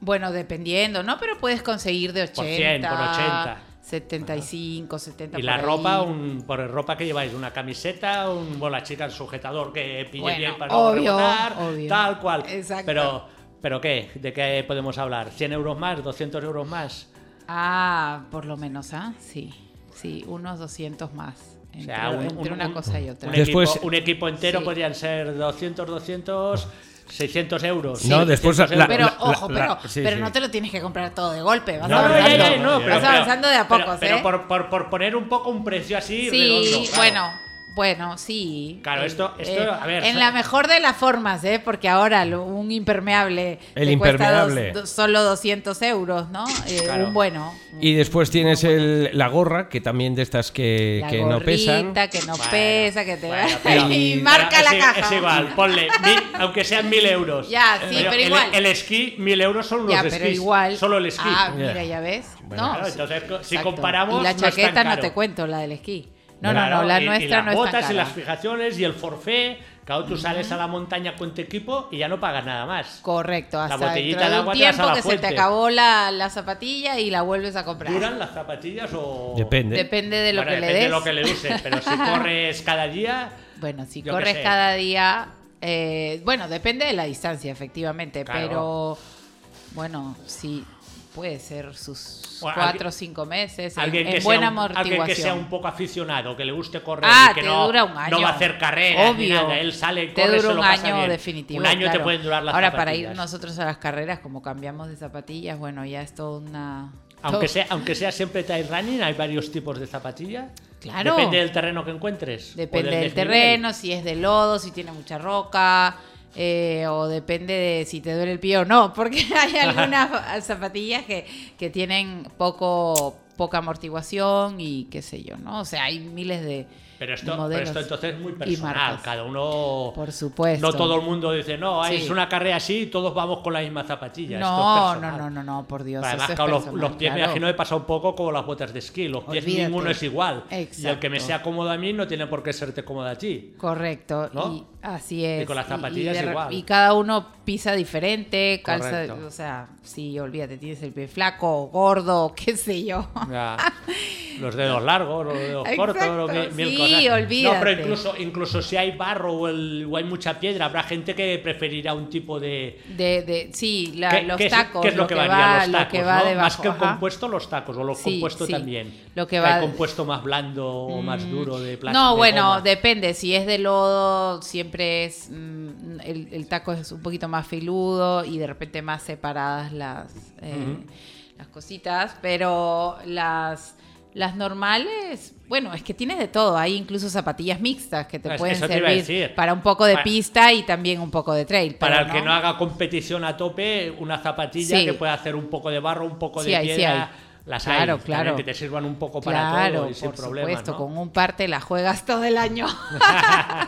Speaker 4: Bueno, dependiendo, ¿no? Pero puedes conseguir de 80,
Speaker 2: Por 100, por 80.
Speaker 4: 75, 70.
Speaker 2: Y
Speaker 4: por
Speaker 2: la
Speaker 4: ahí.
Speaker 2: ropa, un, por el ropa que lleváis, una camiseta, un bola chica, el sujetador que pille
Speaker 4: Bueno,
Speaker 2: bien para no
Speaker 4: obvio,
Speaker 2: rebotar,
Speaker 4: obvio.
Speaker 2: tal cual.
Speaker 4: Exacto.
Speaker 2: Pero, pero ¿qué? ¿De qué podemos hablar? ¿100 euros más? ¿200 euros más?
Speaker 4: Ah, por lo menos, ¿ah? Sí, sí, unos 200 más. Entre,
Speaker 2: sea, un-
Speaker 4: entre
Speaker 2: un-
Speaker 4: una
Speaker 2: un-
Speaker 4: cosa y otra.
Speaker 2: Un,
Speaker 3: Después-
Speaker 2: equipo, un equipo entero
Speaker 4: Sí.
Speaker 2: podrían ser 200, 200, 600 euros.
Speaker 3: No, después
Speaker 2: 600
Speaker 3: la-
Speaker 2: euros.
Speaker 4: Pero ojo,
Speaker 3: la-
Speaker 4: pero,
Speaker 3: sí,
Speaker 4: pero
Speaker 3: sí.
Speaker 4: no te lo tienes que comprar todo de golpe. Vas
Speaker 2: No, no,
Speaker 4: avanzando,
Speaker 2: ya, ya, no, pero,
Speaker 4: vas
Speaker 2: pero-
Speaker 4: avanzando de a
Speaker 2: pero-
Speaker 4: pocos, ¿eh?
Speaker 2: pero por, por- por poner un poco un precio así.
Speaker 4: Sí,
Speaker 2: redondo, claro.
Speaker 4: bueno, bueno, sí. Eh,
Speaker 2: Claro, esto- esto, a ver,
Speaker 4: En
Speaker 2: so-
Speaker 4: la mejor de las formas, ¿eh? Porque ahora lo- un impermeable.
Speaker 3: El
Speaker 4: te cuesta
Speaker 3: impermeable.
Speaker 4: dos- dos- solo 200 euros, ¿no? Eh,
Speaker 2: Claro.
Speaker 4: Un bueno.
Speaker 3: Y después tienes el, la gorra, que también de estas que,
Speaker 4: la
Speaker 3: que no
Speaker 4: gorrita,
Speaker 3: pesan.
Speaker 4: que no
Speaker 2: Bueno,
Speaker 4: pesa, que te
Speaker 2: bueno, pero-
Speaker 4: y
Speaker 2: pero
Speaker 4: marca
Speaker 2: es
Speaker 4: la
Speaker 2: i-
Speaker 4: caja.
Speaker 2: Es igual, ponle, mil- aunque sean mil euros.
Speaker 4: Ya, sí, pero
Speaker 2: el-
Speaker 4: igual.
Speaker 2: El, esquí, mil euros son los
Speaker 4: Ya,
Speaker 2: esquís.
Speaker 4: pero igual.
Speaker 2: Solo el esquí.
Speaker 4: Ah,
Speaker 3: Ya.
Speaker 4: mira, ya ves.
Speaker 3: Bueno,
Speaker 4: no,
Speaker 2: Claro,
Speaker 4: sí,
Speaker 2: entonces, co- si
Speaker 4: exacto.
Speaker 2: comparamos,
Speaker 4: Y la
Speaker 2: no es tan
Speaker 4: chaqueta no,
Speaker 2: caro.
Speaker 4: te cuento, la del esquí. No,
Speaker 2: Claro,
Speaker 4: no, no, la
Speaker 2: y- y
Speaker 4: nuestra no
Speaker 2: las
Speaker 4: es
Speaker 2: botas
Speaker 4: tan
Speaker 2: y
Speaker 4: cara.
Speaker 2: las fijaciones y el forfé. Claro, tú sales a la montaña con tu equipo y ya no pagas nada más.
Speaker 4: Correcto, hasta
Speaker 2: botellita
Speaker 4: dentro
Speaker 2: de
Speaker 4: de
Speaker 2: agua
Speaker 4: un
Speaker 2: te vas a
Speaker 4: tiempo
Speaker 2: la
Speaker 4: que se
Speaker 2: fuente.
Speaker 4: te acabó la, la zapatilla y la vuelves a comprar.
Speaker 2: ¿Duran las zapatillas o...?
Speaker 3: Depende.
Speaker 4: Depende de lo
Speaker 2: Bueno,
Speaker 4: que le
Speaker 2: depende
Speaker 4: des.
Speaker 2: de lo que le uses, pero si corres cada día...
Speaker 4: Bueno, si
Speaker 2: Yo qué
Speaker 4: corres
Speaker 2: sé.
Speaker 4: cada día, eh, bueno, depende de la distancia, efectivamente,
Speaker 2: Claro.
Speaker 4: pero bueno, sí, puede ser sus
Speaker 2: Bueno,
Speaker 4: cuatro
Speaker 2: alguien-
Speaker 4: o cinco meses en,
Speaker 2: Alguien
Speaker 4: en
Speaker 2: que, sea
Speaker 4: buena
Speaker 2: un, alguien que sea
Speaker 4: amortiguación.
Speaker 2: un poco aficionado, que le guste correr
Speaker 4: Ah,
Speaker 2: y que
Speaker 4: te
Speaker 2: no,
Speaker 4: dura un año.
Speaker 2: no va a hacer carreras ni
Speaker 4: Obvio.
Speaker 2: nada. Él sale y
Speaker 4: Te
Speaker 2: corre, se
Speaker 4: dura
Speaker 2: lo
Speaker 4: un
Speaker 2: pasa
Speaker 4: año
Speaker 2: bien.
Speaker 4: definitivo.
Speaker 2: Un año te
Speaker 4: claro.
Speaker 2: pueden durar las
Speaker 4: Ahora, para
Speaker 2: zapatillas.
Speaker 4: ir nosotros a las carreras, como cambiamos de zapatillas, bueno, ya es toda una...
Speaker 2: Aunque
Speaker 4: todo-
Speaker 2: sea, aunque sea siempre trail running, hay varios tipos de zapatilla.
Speaker 4: Claro.
Speaker 2: Depende del terreno que encuentres. o
Speaker 4: Depende del
Speaker 2: desnivel.
Speaker 4: terreno, si es de lodo, si tiene mucha roca, eh, o depende de si te duele el pie o no, porque hay algunas zapatillas que, que tienen poco poca amortiguación y qué sé yo, ¿no? O sea, hay miles de
Speaker 2: Pero esto, pero
Speaker 4: modelos
Speaker 2: esto entonces es muy
Speaker 4: y
Speaker 2: personal.
Speaker 4: marcas.
Speaker 2: Cada uno.
Speaker 4: Por supuesto.
Speaker 2: No todo el mundo dice, no, hay
Speaker 4: Sí.
Speaker 2: es una carrera así y todos vamos con la misma zapatilla. esto
Speaker 4: No,
Speaker 2: es
Speaker 4: no,
Speaker 2: personal.
Speaker 4: no, no, no, por Dios.
Speaker 2: Además,
Speaker 4: eso es
Speaker 2: claro, los,
Speaker 4: personal,
Speaker 2: los pies me
Speaker 4: claro.
Speaker 2: imagino que pasa un poco como las botas de esquí. Los pies
Speaker 4: Olvídate.
Speaker 2: ninguno es igual. Y el que me
Speaker 4: Exacto.
Speaker 2: sea cómodo a mí no tiene por qué serte cómodo a ti.
Speaker 4: Correcto,
Speaker 2: ¿No?
Speaker 4: y así es.
Speaker 2: Y con las zapatillas
Speaker 4: de re-
Speaker 2: igual.
Speaker 4: y cada uno pisa diferente, calza,
Speaker 2: Correcto.
Speaker 4: o sea, sí, olvídate, tienes el pie flaco, gordo, qué sé yo.
Speaker 2: Ya, los dedos largos, los dedos
Speaker 4: Exacto,
Speaker 2: cortos, lo que- mil
Speaker 4: sí,
Speaker 2: cosas. No, pero
Speaker 4: olvídate.
Speaker 2: incluso, incluso si hay barro o, el- o hay mucha piedra, habrá gente que preferirá un tipo de.
Speaker 4: De, de, sí, la-
Speaker 2: ¿Qué-
Speaker 4: los
Speaker 2: qué es-
Speaker 4: tacos,
Speaker 2: qué es lo, que, varía?
Speaker 4: va,
Speaker 2: los tacos,
Speaker 4: lo que va
Speaker 2: ¿no?
Speaker 4: debajo.
Speaker 2: Más que el
Speaker 4: ajá.
Speaker 2: compuesto, los tacos, o lo
Speaker 4: Sí,
Speaker 2: compuesto
Speaker 4: sí.
Speaker 2: también.
Speaker 4: Lo que
Speaker 2: Hay
Speaker 4: va- Mm.
Speaker 2: compuesto más blando o más duro de plástico.
Speaker 4: No,
Speaker 2: de
Speaker 4: bueno,
Speaker 2: goma.
Speaker 4: depende. Si es de lodo, siempre es. mm, el, el taco es un poquito más filudo y de repente más separadas las, eh, las cositas. Pero las, las normales, bueno, es que tienes de todo. Hay incluso zapatillas mixtas que te
Speaker 2: Es que
Speaker 4: pueden
Speaker 2: eso te iba a
Speaker 4: servir
Speaker 2: decir.
Speaker 4: para un poco de
Speaker 2: Pa-
Speaker 4: pista y también un poco de trail.
Speaker 2: Para
Speaker 4: pero
Speaker 2: el que no haga competición a tope, una zapatilla
Speaker 4: Sí.
Speaker 2: que pueda hacer un poco de barro, un poco
Speaker 4: Sí
Speaker 2: de
Speaker 4: hay, sí
Speaker 2: piedra.
Speaker 4: hay.
Speaker 2: Las
Speaker 4: Claro,
Speaker 2: hay,
Speaker 4: claro.
Speaker 2: también que te sirvan un poco para
Speaker 4: Claro,
Speaker 2: todo y sin
Speaker 4: por
Speaker 2: problema.
Speaker 4: supuesto,
Speaker 2: ¿no?
Speaker 4: con un parte la juegas todo el año.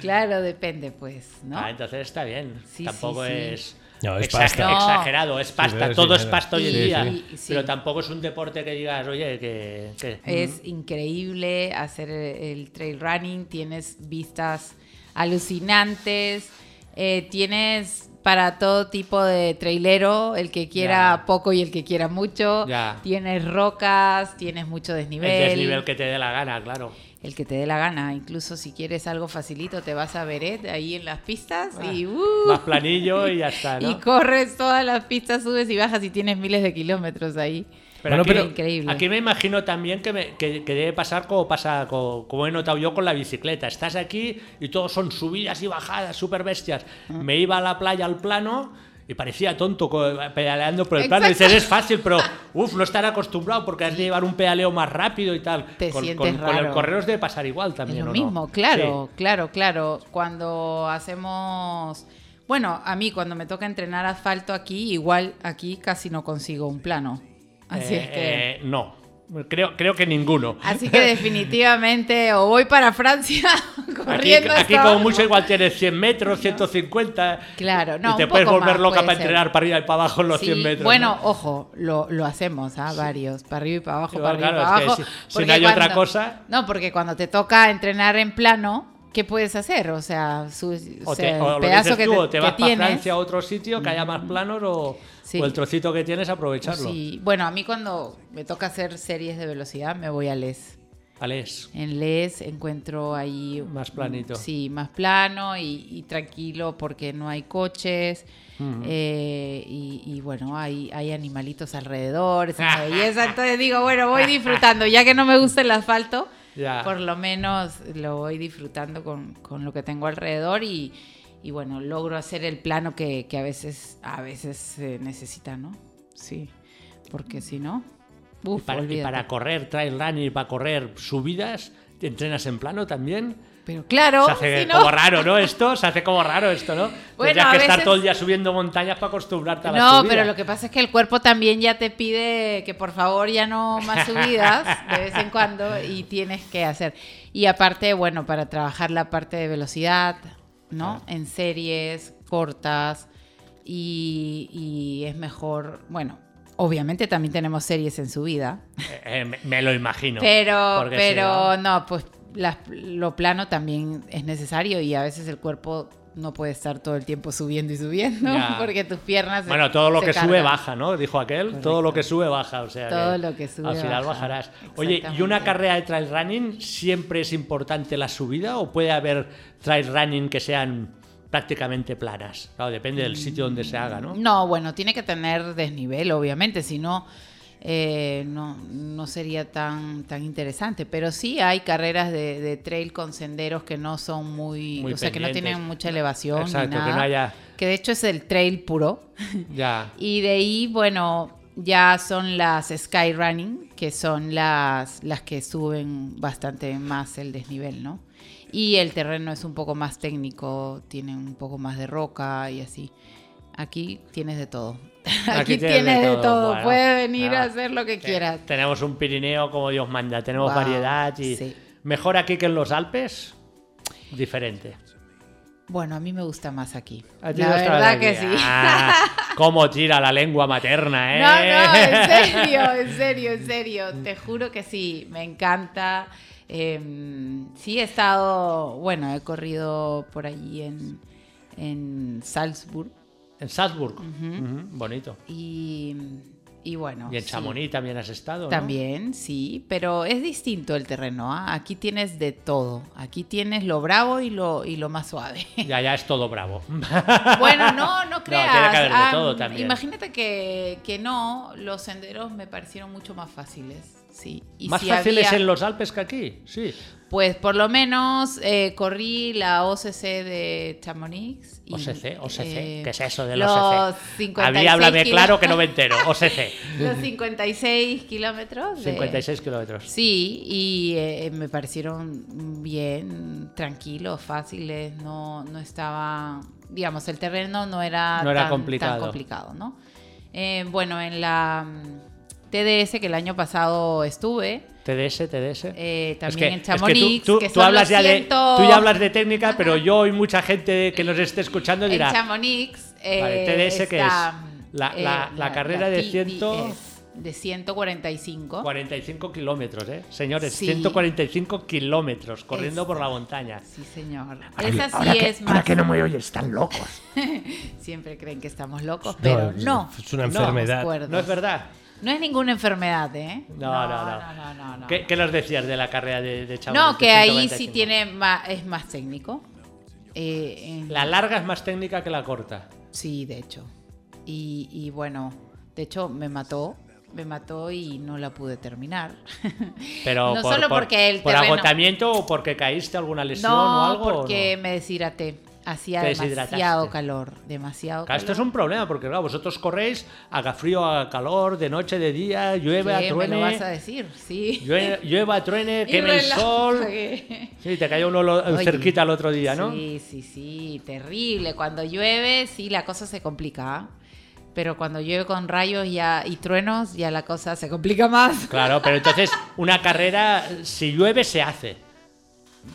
Speaker 4: claro, depende, pues, ¿no?
Speaker 2: Ah, entonces está bien.
Speaker 4: Sí,
Speaker 2: tampoco
Speaker 4: sí, sí.
Speaker 2: es.
Speaker 3: No, es
Speaker 2: exa-
Speaker 3: pasta.
Speaker 4: No.
Speaker 2: Exagerado, es pasta,
Speaker 3: pero es
Speaker 2: todo es
Speaker 3: dinero.
Speaker 2: pasta hoy en
Speaker 4: Sí,
Speaker 2: día.
Speaker 4: sí, sí. Eh,
Speaker 2: Pero tampoco es un deporte que digas, oye, que. que-
Speaker 4: Es increíble hacer el trail running, tienes vistas alucinantes, eh, tienes para todo tipo de trailero, el que quiera
Speaker 2: Ya.
Speaker 4: poco y el que quiera mucho,
Speaker 2: Ya.
Speaker 4: tienes rocas, tienes mucho
Speaker 2: El
Speaker 4: desnivel,
Speaker 2: desnivel que te dé la gana, claro.
Speaker 4: el que te dé la gana, incluso si quieres algo facilito te vas a Beret ahí en las pistas y ¡uh!
Speaker 2: Ah, Más planillo y ya está, ¿no?
Speaker 4: Y corres todas las pistas, subes y bajas y tienes miles de kilómetros ahí.
Speaker 3: Bueno, pero-
Speaker 4: Increíble.
Speaker 2: aquí me imagino también que, me- que- que debe pasar como pasa co- como, he notado yo con la bicicleta. Estás aquí y todos son subidas y bajadas, súper bestias. Me iba a la playa al plano y parecía tonto co- pedaleando por el plano.
Speaker 4: Exacto.
Speaker 2: Dices, es fácil, pero uff, no estar acostumbrado porque has de llevar un pedaleo más rápido y tal.
Speaker 4: Te
Speaker 2: con,
Speaker 4: sientes
Speaker 2: con- con el
Speaker 4: raro.
Speaker 2: correr os debe pasar igual
Speaker 4: Es
Speaker 2: también.
Speaker 4: lo
Speaker 2: ¿o no?
Speaker 4: mismo, claro, claro, claro. Cuando hacemos... Bueno, a mí cuando me toca entrenar asfalto aquí, igual aquí casi no consigo un plano.
Speaker 2: Sí.
Speaker 4: Así
Speaker 2: Eh,
Speaker 4: es que...
Speaker 2: eh, no, creo, creo que ninguno.
Speaker 4: Así que definitivamente o voy para Francia
Speaker 2: Aquí,
Speaker 4: corriendo
Speaker 2: aquí
Speaker 4: hasta
Speaker 2: como
Speaker 4: abajo.
Speaker 2: mucho igual tienes 100 metros, 150.
Speaker 4: Claro, no,
Speaker 2: Y te
Speaker 4: un
Speaker 2: puedes
Speaker 4: poco
Speaker 2: volver
Speaker 4: más,
Speaker 2: loca
Speaker 4: puede
Speaker 2: para
Speaker 4: ser.
Speaker 2: entrenar para arriba y para abajo en los
Speaker 4: Sí,
Speaker 2: 100 metros.
Speaker 4: Bueno,
Speaker 2: ¿no?
Speaker 4: ojo, lo, lo hacemos, ¿ah? Varios, para arriba y para abajo,
Speaker 2: Igual,
Speaker 4: para arriba y
Speaker 2: claro,
Speaker 4: para
Speaker 2: es que
Speaker 4: abajo.
Speaker 2: si- si
Speaker 4: porque
Speaker 2: no hay otra cosa-
Speaker 4: No, porque cuando te toca entrenar en plano, ¿qué puedes hacer? O sea, su, o
Speaker 2: O,
Speaker 4: sea,
Speaker 2: te, o
Speaker 4: el
Speaker 2: lo
Speaker 4: pedazo
Speaker 2: dices
Speaker 4: que,
Speaker 2: tú,
Speaker 4: te-
Speaker 2: o te
Speaker 4: que
Speaker 2: vas para
Speaker 4: tienes.
Speaker 2: Francia a otro sitio que haya más planos o,
Speaker 4: Sí.
Speaker 2: o el trocito que tienes aprovecharlo.
Speaker 4: Sí, bueno, a mí cuando me toca hacer series de velocidad, me voy E a Les.
Speaker 2: Vale, es
Speaker 4: En Les encuentro ahí...
Speaker 2: Más planito.
Speaker 4: Sí, más plano y, y tranquilo porque no hay coches. eh, y, y bueno, hay, hay animalitos alrededor, es una belleza. Entonces digo, bueno, voy disfrutando. Ya que no me gusta el asfalto,
Speaker 2: Ya.
Speaker 4: por lo menos lo voy disfrutando con, con lo que tengo alrededor y, y bueno, logro hacer el plano que, que a veces, a veces se necesita, ¿no? Sí, porque si no...
Speaker 2: Y
Speaker 4: Uf,
Speaker 2: para, y
Speaker 4: olvídate.
Speaker 2: para correr trail running, y para correr subidas, ¿te entrenas en plano también?
Speaker 4: Pero claro,
Speaker 2: se hace
Speaker 4: si no...
Speaker 2: como raro, ¿no? Esto se hace como raro, esto, ¿no?
Speaker 4: Bueno,
Speaker 2: Tendrías
Speaker 4: a
Speaker 2: que estar
Speaker 4: veces-
Speaker 2: todo el día subiendo montañas para acostumbrarte a la
Speaker 4: No,
Speaker 2: subida.
Speaker 4: pero lo que pasa es que el cuerpo también ya te pide que por favor ya no más subidas de vez en cuando y tienes que hacer. Y aparte, bueno, para trabajar la parte de velocidad, ¿no? En series cortas y, y es mejor, bueno, obviamente también tenemos series en subida,
Speaker 2: Eh, eh, me, me lo imagino.
Speaker 4: pero,
Speaker 2: porque si
Speaker 4: pero
Speaker 2: no-
Speaker 4: no, pues las- lo plano también es necesario y a veces el cuerpo no puede estar todo el tiempo subiendo y subiendo
Speaker 2: Ya.
Speaker 4: porque tus piernas se-
Speaker 2: Bueno, todo lo
Speaker 4: se
Speaker 2: que sube
Speaker 4: cargan.
Speaker 2: baja, ¿no? Dijo aquel. Todo lo que sube baja, o sea.
Speaker 4: Todo lo que sube
Speaker 2: Al final
Speaker 4: baja.
Speaker 2: bajarás. Oye, ¿y una
Speaker 4: Exactamente.
Speaker 2: carrera de trail running siempre es importante la subida o puede haber trail running que sean prácticamente planas? Claro, depende del sitio donde se haga, ¿no?
Speaker 4: No, bueno, tiene que tener desnivel, obviamente, si no, eh, no, no sería tan, tan interesante. Pero sí hay carreras de, de trail con senderos que no son muy,
Speaker 2: Muy
Speaker 4: o sea, que no
Speaker 2: pendientes.
Speaker 4: tienen mucha elevación. ni
Speaker 2: Exacto, que
Speaker 4: nada,
Speaker 2: no haya-
Speaker 4: que de hecho es el trail puro.
Speaker 2: Ya.
Speaker 4: Y de ahí, bueno, ya son las skyrunning, que son las, las que suben bastante más el desnivel, ¿no? Y el terreno es un poco más técnico, tiene un poco más de roca y así. Aquí tienes de todo. Aquí, tienes, de todo.
Speaker 2: bueno,
Speaker 4: Puedes venir
Speaker 2: nada.
Speaker 4: a hacer lo que
Speaker 2: Te-
Speaker 4: quieras.
Speaker 2: Tenemos un Pirineo como Dios manda, tenemos
Speaker 4: Guau,
Speaker 2: variedad y
Speaker 4: sí.
Speaker 2: mejor aquí que en los Alpes, diferente.
Speaker 4: Bueno, a mí me gusta más aquí.
Speaker 2: A
Speaker 4: La
Speaker 2: ti no está
Speaker 4: verdad que
Speaker 2: aquí.
Speaker 4: sí.
Speaker 2: Ah, cómo tira la lengua materna,
Speaker 4: No, no,
Speaker 2: ¿eh?
Speaker 4: en serio, en serio, en serio. Te juro que sí, me encanta. Eh, sí he estado, bueno, he corrido por allí en, en Salzburg
Speaker 2: En Salzburg, Ujú, bonito.
Speaker 4: y, y bueno.
Speaker 2: Y en
Speaker 4: sí.
Speaker 2: Chamonix también has estado, ¿no?
Speaker 4: También, sí, pero es distinto el terreno. ¿ah? Aquí tienes de todo. Aquí tienes lo bravo y lo, y lo más suave.
Speaker 2: Y allá es todo bravo.
Speaker 4: Bueno, no, no creas.
Speaker 2: tiene que haber de
Speaker 4: Ah,
Speaker 2: todo también.
Speaker 4: Imagínate que, que no, los senderos me parecieron mucho más fáciles. Sí. Y
Speaker 2: Más
Speaker 4: si
Speaker 2: fáciles
Speaker 4: había-
Speaker 2: en los Alpes que aquí, sí.
Speaker 4: Pues por lo menos eh, corrí la OCC de Chamonix. y,
Speaker 2: OCC, OCC,
Speaker 4: eh,
Speaker 2: ¿qué es eso de
Speaker 4: los
Speaker 2: OCC? A mí
Speaker 4: 56
Speaker 2: háblame
Speaker 4: kilo-
Speaker 2: claro que no me entero, OCC.
Speaker 4: Los 56 kilómetros. de-
Speaker 2: 56 kilómetros.
Speaker 4: Sí, y eh, me parecieron bien, tranquilos, fáciles, no, no estaba, digamos, el terreno no era,
Speaker 2: No era
Speaker 4: tan,
Speaker 2: complicado.
Speaker 4: tan complicado, ¿no? Eh, bueno, en la mm, TDS que el año pasado estuve,
Speaker 2: TDS, TDS.
Speaker 4: eh,
Speaker 2: Es que-
Speaker 4: también en
Speaker 2: es que tú-
Speaker 4: Chamonix,
Speaker 2: tú,
Speaker 4: que
Speaker 2: tú
Speaker 4: son
Speaker 2: hablas
Speaker 4: los
Speaker 2: ya de,
Speaker 4: 100
Speaker 2: tú ya hablas de técnica, pero yo y mucha gente que nos esté escuchando
Speaker 4: en
Speaker 2: dirá,
Speaker 4: Chamonix. eh,
Speaker 2: Vale, TDS, ¿qué
Speaker 4: está, eh,
Speaker 2: es? La- la- la carrera de
Speaker 4: TDS,
Speaker 2: 100.
Speaker 4: de 145.
Speaker 2: 45 kilómetros, ¿eh? Señores,
Speaker 4: Sí.
Speaker 2: 145 kilómetros corriendo por la montaña.
Speaker 4: Sí, señor.
Speaker 5: Oye,
Speaker 4: Esa sí
Speaker 5: ahora que-
Speaker 4: es más.
Speaker 5: Ahora que no me oyes, están locos.
Speaker 4: Siempre creen que estamos locos, pero no.
Speaker 3: Es una
Speaker 2: No,
Speaker 3: enfermedad.
Speaker 4: acuerdo.
Speaker 2: ¿No es verdad?
Speaker 4: No es ninguna enfermedad, ¿eh?
Speaker 2: No, no, no.
Speaker 4: no, no, no,
Speaker 2: ¿Qué,
Speaker 4: no.
Speaker 2: qué nos decías de la carrera de, de Chamonix?
Speaker 4: No,
Speaker 2: de
Speaker 4: que ahí sí
Speaker 2: 145?
Speaker 4: tiene más, es más técnico. Eh, eh,
Speaker 2: La larga es más técnica que la corta.
Speaker 4: Sí, de hecho. Y, y bueno, de hecho me mató. Me mató y no la pude terminar.
Speaker 2: Pero
Speaker 4: No
Speaker 2: por,
Speaker 4: solo
Speaker 2: por-
Speaker 4: porque el
Speaker 2: por
Speaker 4: terreno-
Speaker 2: agotamiento o porque caíste alguna lesión o
Speaker 4: no,
Speaker 2: algo. ¿o
Speaker 4: porque
Speaker 2: no?
Speaker 4: me deshidraté. Hacía
Speaker 2: Te deshidrataste.
Speaker 4: demasiado calor. Demasiado
Speaker 2: Claro, esto es
Speaker 4: calor.
Speaker 2: un problema porque claro, vosotros corréis, haga frío, haga calor, de noche, de día, llueve,
Speaker 4: ¿Qué me
Speaker 2: truene,
Speaker 4: lo vas a decir? Sí.
Speaker 2: llueve, llueva, truene,
Speaker 4: Y
Speaker 2: queme el sol.
Speaker 4: relámpague.
Speaker 2: Sí, te cayó uno lo-
Speaker 4: Oye,
Speaker 2: cerquita el otro día, ¿no?
Speaker 4: Sí, sí, sí, terrible. Cuando llueve, sí, la cosa se complica. ¿ah? Pero cuando llueve con rayos ya, y truenos, ya la cosa se complica más.
Speaker 2: Claro, pero entonces una carrera, si llueve, se hace.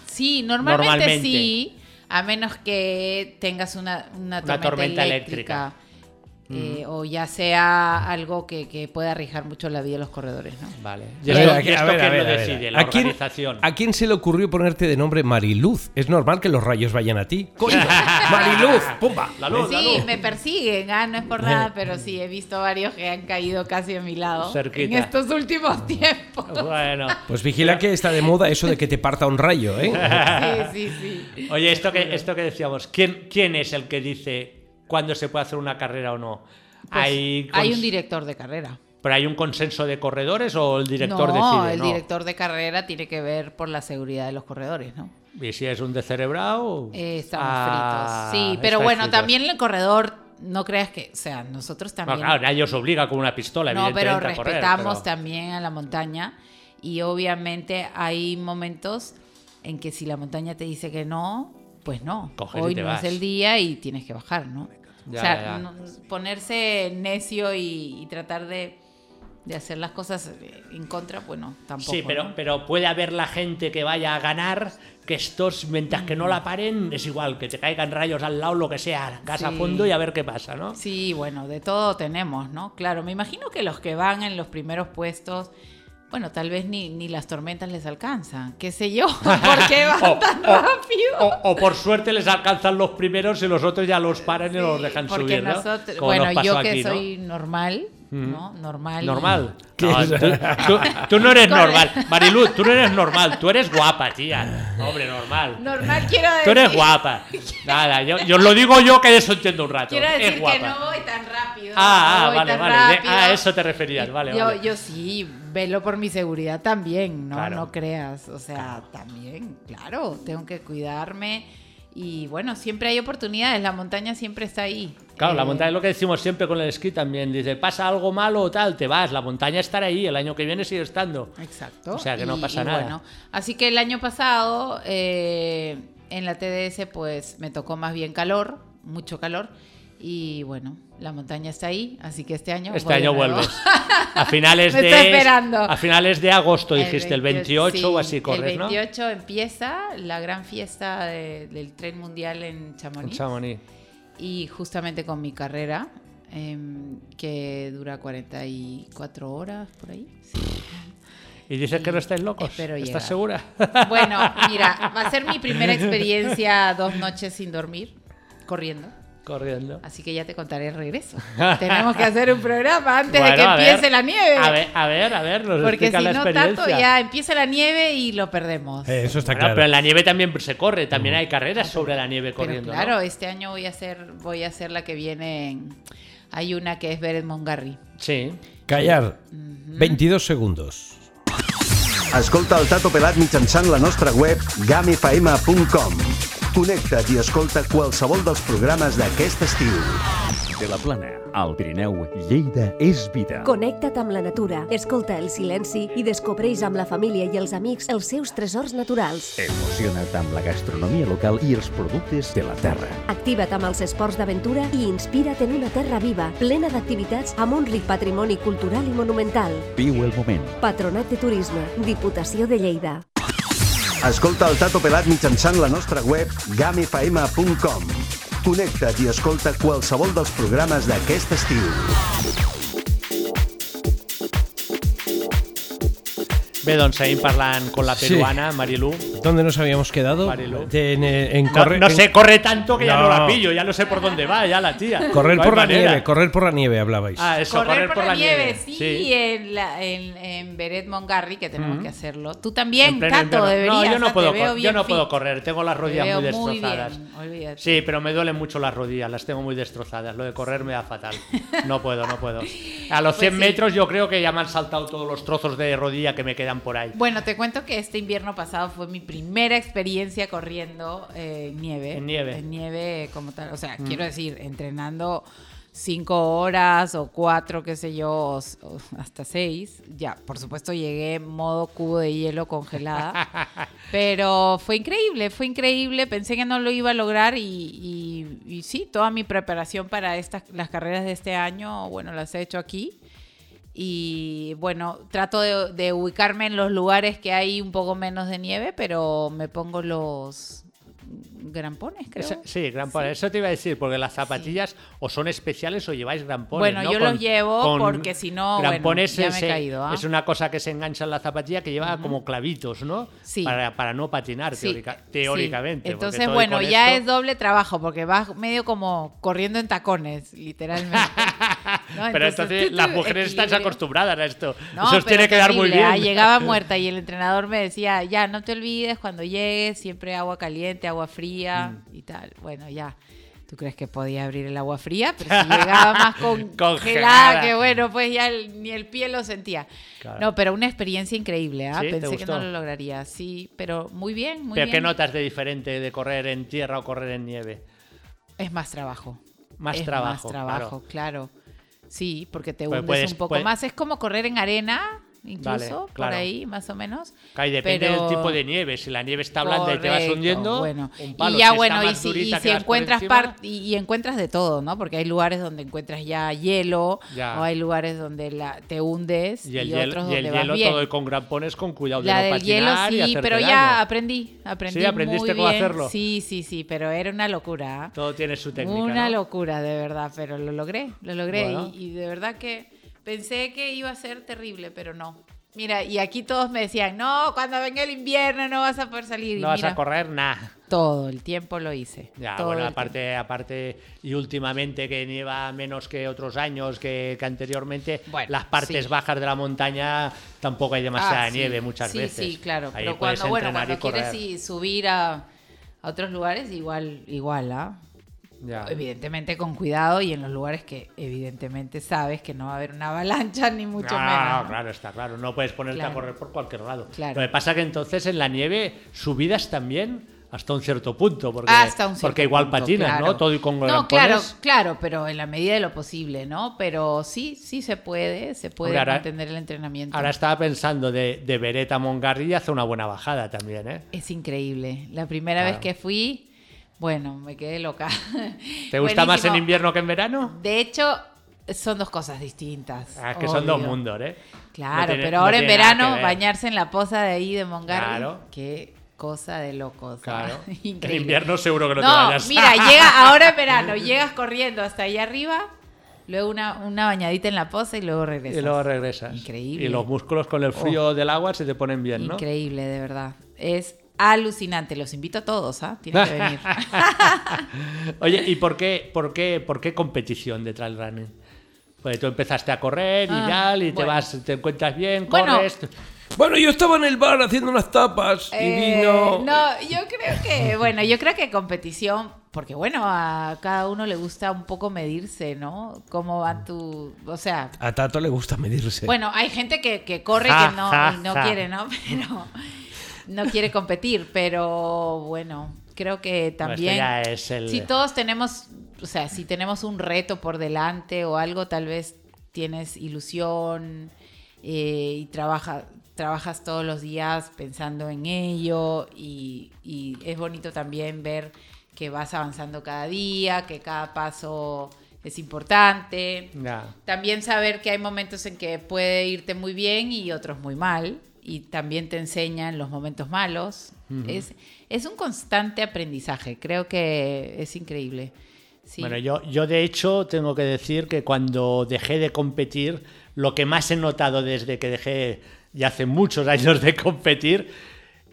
Speaker 4: Sí, normalmente,
Speaker 2: Normalmente.
Speaker 4: sí, a menos que tengas una, una tormenta,
Speaker 2: tormenta Mm.
Speaker 4: eléctrica. eh, O ya sea algo que, que pueda arriesgar mucho la vida de los corredores, ¿no?
Speaker 2: Vale.
Speaker 3: A
Speaker 2: ¿Y esto,
Speaker 3: ver,
Speaker 2: y esto
Speaker 3: a ver, a
Speaker 2: quién
Speaker 3: ver,
Speaker 2: lo
Speaker 3: a ver.
Speaker 2: decide? La
Speaker 3: ¿A quién-
Speaker 2: organización.
Speaker 3: ¿A quién se le ocurrió ponerte de nombre Mariluz? Es normal que los rayos vayan a ti. Coño, Mariluz, pumba.
Speaker 2: La luz, la
Speaker 4: Sí,
Speaker 2: luz.
Speaker 4: me persiguen, ah, no es por nada, pero sí, he visto varios que han caído casi a mi lado
Speaker 2: Cerquita.
Speaker 4: en estos últimos tiempos.
Speaker 2: Bueno.
Speaker 3: Pues vigila que está de moda eso de que te parta un rayo, ¿eh?
Speaker 4: Sí, sí, sí.
Speaker 2: Oye, esto que, esto que decíamos, ¿quién, ¿quién es el que dice cuándo se puede hacer una carrera o no?
Speaker 4: Pues,
Speaker 2: ¿Hay,
Speaker 4: hay
Speaker 2: cons-
Speaker 4: un director de carrera.
Speaker 2: ¿Pero hay un consenso de corredores o el director
Speaker 4: no,
Speaker 2: decide?
Speaker 4: el
Speaker 2: No.
Speaker 4: director de carrera tiene que ver por la seguridad de los corredores, ¿no?
Speaker 2: Y si es un descerebrado.
Speaker 4: Eh, estamos
Speaker 2: ah,
Speaker 4: fritos. Sí, pero
Speaker 2: estáis
Speaker 4: bueno,
Speaker 2: fritos.
Speaker 4: también el corredor, no creas que. O sea, nosotros
Speaker 2: No,
Speaker 4: también.
Speaker 2: claro, nadie os obliga con una pistola,
Speaker 4: no, pero
Speaker 2: evidentemente, a correr,
Speaker 4: respetamos
Speaker 2: pero-
Speaker 4: también a la montaña. Y obviamente hay momentos en que si la montaña te dice que no, pues no.
Speaker 2: Coges y
Speaker 4: Hoy
Speaker 2: te
Speaker 4: no
Speaker 2: vas.
Speaker 4: es el día y tienes que bajar, ¿no?
Speaker 2: Ya,
Speaker 4: o sea,
Speaker 2: ya, ya.
Speaker 4: no- ponerse necio y, y tratar de, de hacer las cosas en contra, pues no, tampoco.
Speaker 2: Sí, pero,
Speaker 4: ¿no?
Speaker 2: pero puede haber la gente que vaya a ganar, que estos, mientras que no la paren, es igual, que te caigan rayos al lado, lo que sea, gas a
Speaker 4: Sí.
Speaker 2: fondo y a ver qué pasa, ¿no?
Speaker 4: Sí, bueno, de todo tenemos, ¿no? Claro, me imagino que los que van en los primeros puestos, bueno, tal vez ni, ni las tormentas les alcanzan, qué sé yo, ¿por qué van
Speaker 2: O-
Speaker 4: tan
Speaker 2: o-
Speaker 4: rápido?
Speaker 2: O, o por suerte les alcanzan los primeros y los otros ya los paran y los dejan
Speaker 4: Porque
Speaker 2: subir, ¿no?
Speaker 4: nosotros,
Speaker 2: Como nos
Speaker 4: bueno,
Speaker 2: pasó
Speaker 4: yo que
Speaker 2: aquí, ¿no?
Speaker 4: soy normal, ¿no? Normal. y-
Speaker 2: Normal. No, tú, tú- tú no eres
Speaker 4: Corre.
Speaker 2: normal. Marilu, tú no eres normal. Tú eres guapa, tía. Hombre, normal.
Speaker 4: Normal quiero decir.
Speaker 2: Tú eres guapa. Nada, yo, yo lo digo yo que eso entiendo un rato.
Speaker 4: Quiero
Speaker 2: Es
Speaker 4: decir que
Speaker 2: guapa.
Speaker 4: no voy tan rápido.
Speaker 2: Ah,
Speaker 4: no
Speaker 2: ah,
Speaker 4: voy
Speaker 2: vale,
Speaker 4: tan
Speaker 2: vale. De-
Speaker 4: rápido.
Speaker 2: ah, eso te referías, vale,
Speaker 4: yo,
Speaker 2: vale.
Speaker 4: Yo sí, velo por mi seguridad también, ¿no?
Speaker 2: Claro.
Speaker 4: No creas. O sea, también, claro, tengo que cuidarme. Y bueno, siempre hay oportunidades. La montaña siempre está ahí.
Speaker 2: Claro, la
Speaker 4: Eh,
Speaker 2: montaña es lo que decimos siempre con el esquí también. Dice, pasa algo malo o tal, te vas. La montaña estará ahí, el año que viene sigue estando.
Speaker 4: Exacto.
Speaker 2: O sea, que no pasa nada.
Speaker 4: bueno, así que el año pasado eh, en la TDS pues me tocó más bien calor, mucho calor. Y bueno, la montaña está ahí, así que este año...
Speaker 2: Este
Speaker 4: voy de
Speaker 2: año
Speaker 4: nuevo.
Speaker 2: vuelves. A finales
Speaker 4: Me
Speaker 2: de
Speaker 4: está esperando.
Speaker 2: a finales de agosto dijiste el 28 o
Speaker 4: sí,
Speaker 2: así corres,
Speaker 4: El
Speaker 2: ¿no?
Speaker 4: 28 empieza la gran fiesta de- del tren mundial en
Speaker 2: En
Speaker 4: Chamonix.
Speaker 2: Chamonix.
Speaker 4: Y justamente con mi carrera, em, que dura 44 horas por ahí. sí.
Speaker 2: Y dices que no estáis locos.
Speaker 4: Espero
Speaker 2: ¿Estás
Speaker 4: llegar.
Speaker 2: segura?
Speaker 4: Bueno, mira, va a ser mi primera experiencia dos noches sin dormir, corriendo.
Speaker 2: Corriendo.
Speaker 4: Así que ya te contaré el regreso. Tenemos que hacer un programa antes de
Speaker 2: Bueno,
Speaker 4: que
Speaker 2: a ver,
Speaker 4: empiece la nieve.
Speaker 2: A ver, a ver, a ver, nos
Speaker 4: porque
Speaker 2: explica
Speaker 4: si
Speaker 2: la
Speaker 4: no,
Speaker 2: experiencia.
Speaker 4: Tato, ya empieza la nieve y lo perdemos.
Speaker 3: Eh, eso está
Speaker 2: Bueno,
Speaker 3: claro.
Speaker 2: pero en la nieve también se corre, también hay carreras sobre la nieve
Speaker 4: Pero
Speaker 2: corriendo. ¿no?
Speaker 4: claro, este año voy a hacer, voy a hacer la que viene. en- Hay una que es Beret Mongarry.
Speaker 2: Sí.
Speaker 3: Callar. 22 segundos.
Speaker 1: Escolta el Tato Pelat mitjançant la nostra web gamfm.com. Connecta't i escolta qualsevol dels programes d'aquest estiu.
Speaker 5: De la Plana, al Pirineu, Lleida és vida.
Speaker 6: Connecta't amb la natura, escolta el silenci i descobreix amb la família i els amics els seus tresors naturals.
Speaker 5: Emociona't amb la gastronomia local i els productes de la terra.
Speaker 6: Activa't amb els esports d'aventura i inspira't en una terra viva, plena d'activitats amb un ric patrimoni cultural i monumental.
Speaker 5: Viu el moment.
Speaker 6: Patronat de Turisme, Diputació de Lleida.
Speaker 1: Escolta el Tato Pelat mitjançant la nostra web gamfm.com. Connecta't i escolta qualsevol dels programes d'aquest estiu.
Speaker 2: Bé, doncs seguim parlant con la
Speaker 3: Sí.
Speaker 2: peruana, Marilu.
Speaker 3: ¿Dónde nos habíamos quedado?
Speaker 2: Marilu.
Speaker 3: De- en, eh, en
Speaker 2: No,
Speaker 3: corre-
Speaker 2: no
Speaker 3: en-
Speaker 2: sé, corre tanto que ya no
Speaker 3: No.
Speaker 2: la pillo, ya no sé por dónde va, ya la tía.
Speaker 3: Correr
Speaker 2: No hay
Speaker 3: por la
Speaker 2: manera.
Speaker 3: nieve, correr por la nieve hablabais.
Speaker 2: Ah, eso,
Speaker 4: correr, por, la nieve, sí, en, la, en, en Beret Mongarry, que tenemos que hacerlo. Tú también,
Speaker 2: En pleno
Speaker 4: Tato,
Speaker 2: invierno.
Speaker 4: deberías.
Speaker 2: No, yo no,
Speaker 4: ah, te
Speaker 2: puedo,
Speaker 4: veo
Speaker 2: cor- yo
Speaker 4: bien
Speaker 2: no
Speaker 4: fit.
Speaker 2: puedo correr, tengo las rodillas
Speaker 4: Te
Speaker 2: muy
Speaker 4: veo muy
Speaker 2: destrozadas.
Speaker 4: bien, olvídate.
Speaker 2: sí, pero me duelen mucho las rodillas, las tengo muy destrozadas. Lo de correr me da fatal. No puedo, no puedo. A los 100
Speaker 4: Pues sí.
Speaker 2: metros yo creo que ya me han saltado todos los trozos de rodilla que me quedan por ahí.
Speaker 4: Bueno, te cuento que este invierno pasado fue mi primera experiencia corriendo eh, en nieve.
Speaker 2: En nieve. Mm.
Speaker 4: En nieve como tal. O sea, quiero decir, entrenando cinco horas o cuatro, qué sé yo, o s- o hasta seis. Ya, por supuesto llegué en modo cubo de hielo congelada. pero fue increíble, fue increíble. Pensé que no lo iba a lograr y, y- y sí, toda mi preparación para estas, las carreras de este año, bueno, las he hecho aquí. Y bueno, trato de, de ubicarme en los lugares que hay un poco menos de nieve, pero me pongo los grampones, creo.
Speaker 2: Ese- sí, grampones. Eso te iba a decir, porque las zapatillas o son especiales o lleváis grampones.
Speaker 4: Bueno,
Speaker 2: ¿no?
Speaker 4: yo los llevo porque si no, bueno,
Speaker 2: grampones
Speaker 4: ya me he
Speaker 2: es- eh,
Speaker 4: caído, ¿ah?
Speaker 2: Es una cosa que se engancha en la zapatilla que lleva como clavitos, ¿no?
Speaker 4: Sí.
Speaker 2: Para, para no patinar,
Speaker 4: Sí,
Speaker 2: teórica-
Speaker 4: sí.
Speaker 2: teóricamente. porque
Speaker 4: Entonces,
Speaker 2: todo y
Speaker 4: bueno,
Speaker 2: con
Speaker 4: ya
Speaker 2: esto-
Speaker 4: es doble trabajo porque vas medio como corriendo en tacones, literalmente. ¿No?
Speaker 2: Pero entonces
Speaker 4: Ah, tú,
Speaker 2: las
Speaker 4: tú,
Speaker 2: mujeres están
Speaker 4: equilibrio.
Speaker 2: acostumbradas a esto.
Speaker 4: No,
Speaker 2: Eso os
Speaker 4: pero
Speaker 2: tiene que dar muy
Speaker 4: terrible,
Speaker 2: bien.
Speaker 4: ah, Llegaba muerta y el entrenador me decía, ya,
Speaker 2: Mm.
Speaker 4: no te olvides, cuando llegues, siempre agua caliente, agua fría y tal. Bueno, ya. ¿Tú crees que podía abrir el agua fría? Pero si llegaba más congelada, que bueno, pues ya el- ni el pie lo sentía.
Speaker 2: Claro.
Speaker 4: No, pero una experiencia increíble. ¿ah?
Speaker 2: ¿Sí? ¿Te
Speaker 4: Pensé que no
Speaker 2: gustó?
Speaker 4: lo lograría. Sí, pero muy bien, muy
Speaker 2: ¿Pero
Speaker 4: bien.
Speaker 2: qué notas de diferente de correr en tierra o correr en nieve?
Speaker 4: Es más trabajo.
Speaker 2: Más
Speaker 4: Es
Speaker 2: trabajo,
Speaker 4: Más trabajo, claro. Sí, porque te
Speaker 2: Pues
Speaker 4: hundes
Speaker 2: puedes-
Speaker 4: un poco
Speaker 2: puede-
Speaker 4: más. Es como correr en arena,
Speaker 2: Vale,
Speaker 4: incluso, por
Speaker 2: claro.
Speaker 4: ahí, más o menos.
Speaker 2: Claro, y depende
Speaker 4: Pero-
Speaker 2: del tipo de nieve. Si la nieve está blanda y te vas
Speaker 4: Correcto,
Speaker 2: hundiendo,
Speaker 4: bueno.
Speaker 2: un palo.
Speaker 4: y ya
Speaker 2: Si está
Speaker 4: bueno, y
Speaker 2: más
Speaker 4: si,
Speaker 2: durita
Speaker 4: y
Speaker 2: que
Speaker 4: si
Speaker 2: vas por
Speaker 4: encuentras
Speaker 2: encima,
Speaker 4: par- y, y encuentras de todo, ¿no? Porque hay lugares donde encuentras ya hielo,
Speaker 2: Ya.
Speaker 4: o hay lugares donde la, te hundes
Speaker 2: Y
Speaker 4: y,
Speaker 2: el hielo,
Speaker 4: otros
Speaker 2: y el
Speaker 4: donde
Speaker 2: hielo
Speaker 4: vas bien.
Speaker 2: todo y con grampones con cuidado
Speaker 4: la
Speaker 2: de no
Speaker 4: del hielo
Speaker 2: patinar y
Speaker 4: sí,
Speaker 2: hacerte
Speaker 4: pero ya
Speaker 2: daño.
Speaker 4: aprendí, aprendí
Speaker 2: aprendiste
Speaker 4: muy
Speaker 2: cómo
Speaker 4: bien.
Speaker 2: hacerlo.
Speaker 4: Sí, sí, sí, pero era una locura. ¿ah?
Speaker 2: Todo tiene su técnica.
Speaker 4: Una
Speaker 2: ¿no?
Speaker 4: locura, de verdad, pero lo logré, lo logré.
Speaker 2: Bueno.
Speaker 4: Y, y de verdad que pensé que iba a ser terrible, pero no. Mira, y aquí todos me decían, no, cuando venga el invierno no vas a poder salir. Y
Speaker 2: No vas
Speaker 4: mira,
Speaker 2: a correr nada.
Speaker 4: todo el tiempo lo hice.
Speaker 2: Ya,
Speaker 4: todo
Speaker 2: bueno,
Speaker 4: el
Speaker 2: aparte, aparte, y últimamente que nieva menos que otros años que, que anteriormente,
Speaker 4: Bueno,
Speaker 2: las partes
Speaker 4: sí.
Speaker 2: bajas de la montaña tampoco hay demasiada
Speaker 4: Ah, sí,
Speaker 2: nieve muchas
Speaker 4: sí,
Speaker 2: veces.
Speaker 4: Sí, claro.
Speaker 2: Ahí
Speaker 4: pero
Speaker 2: puedes
Speaker 4: cuando, bueno,
Speaker 2: entrenar
Speaker 4: cuando
Speaker 2: y correr.
Speaker 4: quieres y subir a, a otros lugares, igual, igual, ¿ah?
Speaker 2: Ya.
Speaker 4: Evidentemente con cuidado y en los lugares que evidentemente sabes que no va a haber una avalancha ni mucho
Speaker 2: Ah,
Speaker 4: menos. ¿no?
Speaker 2: claro, está claro. No puedes ponerte a
Speaker 4: Claro.
Speaker 2: correr por cualquier lado.
Speaker 4: Claro.
Speaker 2: Lo que pasa que entonces en la nieve subidas también hasta un cierto punto, porque,
Speaker 4: Hasta un cierto
Speaker 2: porque igual
Speaker 4: punto,
Speaker 2: patinas, ¿no?
Speaker 4: claro.
Speaker 2: Todo y con
Speaker 4: No,
Speaker 2: grampones.
Speaker 4: claro, claro, pero en la medida de lo posible, ¿no? Pero sí, sí se puede, se puede
Speaker 2: Hombre, ahora-
Speaker 4: mantener el entrenamiento.
Speaker 2: Ahora estaba pensando de, de Beret a Montgarry hace una buena bajada también, ¿eh?
Speaker 4: Es increíble. La primera
Speaker 2: Claro.
Speaker 4: vez que fui, bueno, me quedé loca.
Speaker 2: ¿Te gusta más en
Speaker 4: Buenísimo.
Speaker 2: invierno que en verano?
Speaker 4: De hecho, son dos cosas distintas.
Speaker 2: Ah, es que son dos
Speaker 4: obvio.
Speaker 2: mundos, ¿eh?
Speaker 4: Claro,
Speaker 2: No tiene-
Speaker 4: pero
Speaker 2: no
Speaker 4: ahora en
Speaker 2: tiene nada que
Speaker 4: verano
Speaker 2: ver.
Speaker 4: bañarse en la poza de ahí de Mongarry,
Speaker 2: Claro.
Speaker 4: qué cosa de locos. ¿eh?
Speaker 2: Claro.
Speaker 4: Increíble.
Speaker 2: En invierno seguro que no, te
Speaker 4: No,
Speaker 2: bañas.
Speaker 4: mira, llega ahora en verano, llegas corriendo hasta allá arriba, luego una, una bañadita en la poza y luego regresas.
Speaker 2: Y luego regresas.
Speaker 4: Increíble. Oh.
Speaker 2: Y los músculos con el frío del agua se te ponen bien, ¿no?
Speaker 4: Increíble, de verdad. Es alucinante. Los invito a todos, ¿ah? Tienen que venir.
Speaker 2: Oye, ¿y por qué, por qué, por qué competición de trail running? Pues tú empezaste a correr y
Speaker 4: Ah,
Speaker 2: tal, y te
Speaker 4: bueno.
Speaker 2: vas, te encuentras bien,
Speaker 4: Bueno,
Speaker 2: corres.
Speaker 3: Bueno, yo estaba en el bar haciendo unas tapas
Speaker 4: Eh,
Speaker 3: y vino.
Speaker 4: No, yo creo que, bueno, yo creo que competición, porque bueno, a cada uno le gusta un poco medirse, ¿no? Cómo van tu, o sea,
Speaker 3: A Tato le gusta medirse.
Speaker 4: bueno, hay gente que, que corre
Speaker 2: Ja,
Speaker 4: que no,
Speaker 2: ja,
Speaker 4: y no
Speaker 2: ja.
Speaker 4: quiere, ¿no? Pero no quiere competir, pero bueno, creo que
Speaker 2: No, esto
Speaker 4: también...
Speaker 2: ya es el-
Speaker 4: Si todos tenemos, o sea, si tenemos un reto por delante o algo, tal vez tienes ilusión eh, y trabaja, trabajas todos los días pensando en ello y, y es bonito también ver que vas avanzando cada día, que cada paso es importante.
Speaker 2: Ya.
Speaker 4: También saber que hay momentos en que puede irte muy bien y otros muy mal. Y también te enseñan los momentos malos. es, es un constante aprendizaje. Creo que es increíble. Sí.
Speaker 2: Bueno, yo, yo de hecho tengo que decir que cuando dejé de competir, lo que más he notado desde que dejé ya hace muchos años de competir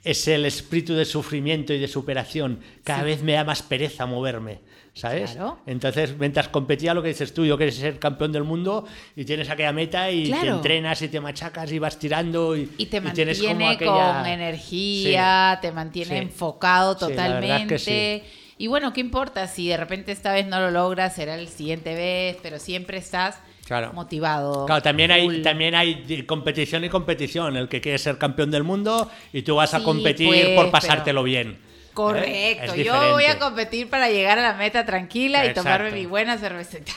Speaker 2: es el espíritu de sufrimiento y de superación. Cada
Speaker 4: Sí.
Speaker 2: vez me da más pereza moverme, ¿sabes?
Speaker 4: Claro.
Speaker 2: Entonces, mientras competía, lo que dices tú, yo quieres ser campeón del mundo y tienes aquella meta y te
Speaker 4: Claro.
Speaker 2: entrenas y te machacas y vas tirando y,
Speaker 4: y te
Speaker 2: y
Speaker 4: mantiene
Speaker 2: tienes como aquella-
Speaker 4: con energía, te mantiene
Speaker 2: Sí.
Speaker 4: enfocado
Speaker 2: Sí, la verdad es
Speaker 4: totalmente.
Speaker 2: que sí.
Speaker 4: Y bueno, ¿qué importa? Si de repente esta vez no lo logras, será el siguiente vez, pero siempre estás
Speaker 2: Claro.
Speaker 4: motivado.
Speaker 2: Claro, también hay,
Speaker 4: full.
Speaker 2: también hay di- competición y competición. El que quiere ser campeón del mundo y tú vas a
Speaker 4: Sí,
Speaker 2: competir
Speaker 4: pues,
Speaker 2: por pasártelo
Speaker 4: pero-
Speaker 2: bien. ¿Eh?
Speaker 4: Correcto,
Speaker 2: Es
Speaker 4: yo voy a
Speaker 2: diferente.
Speaker 4: competir para llegar a la meta tranquila
Speaker 2: Exacto. Ah,
Speaker 4: y tomarme mi buena cervecita.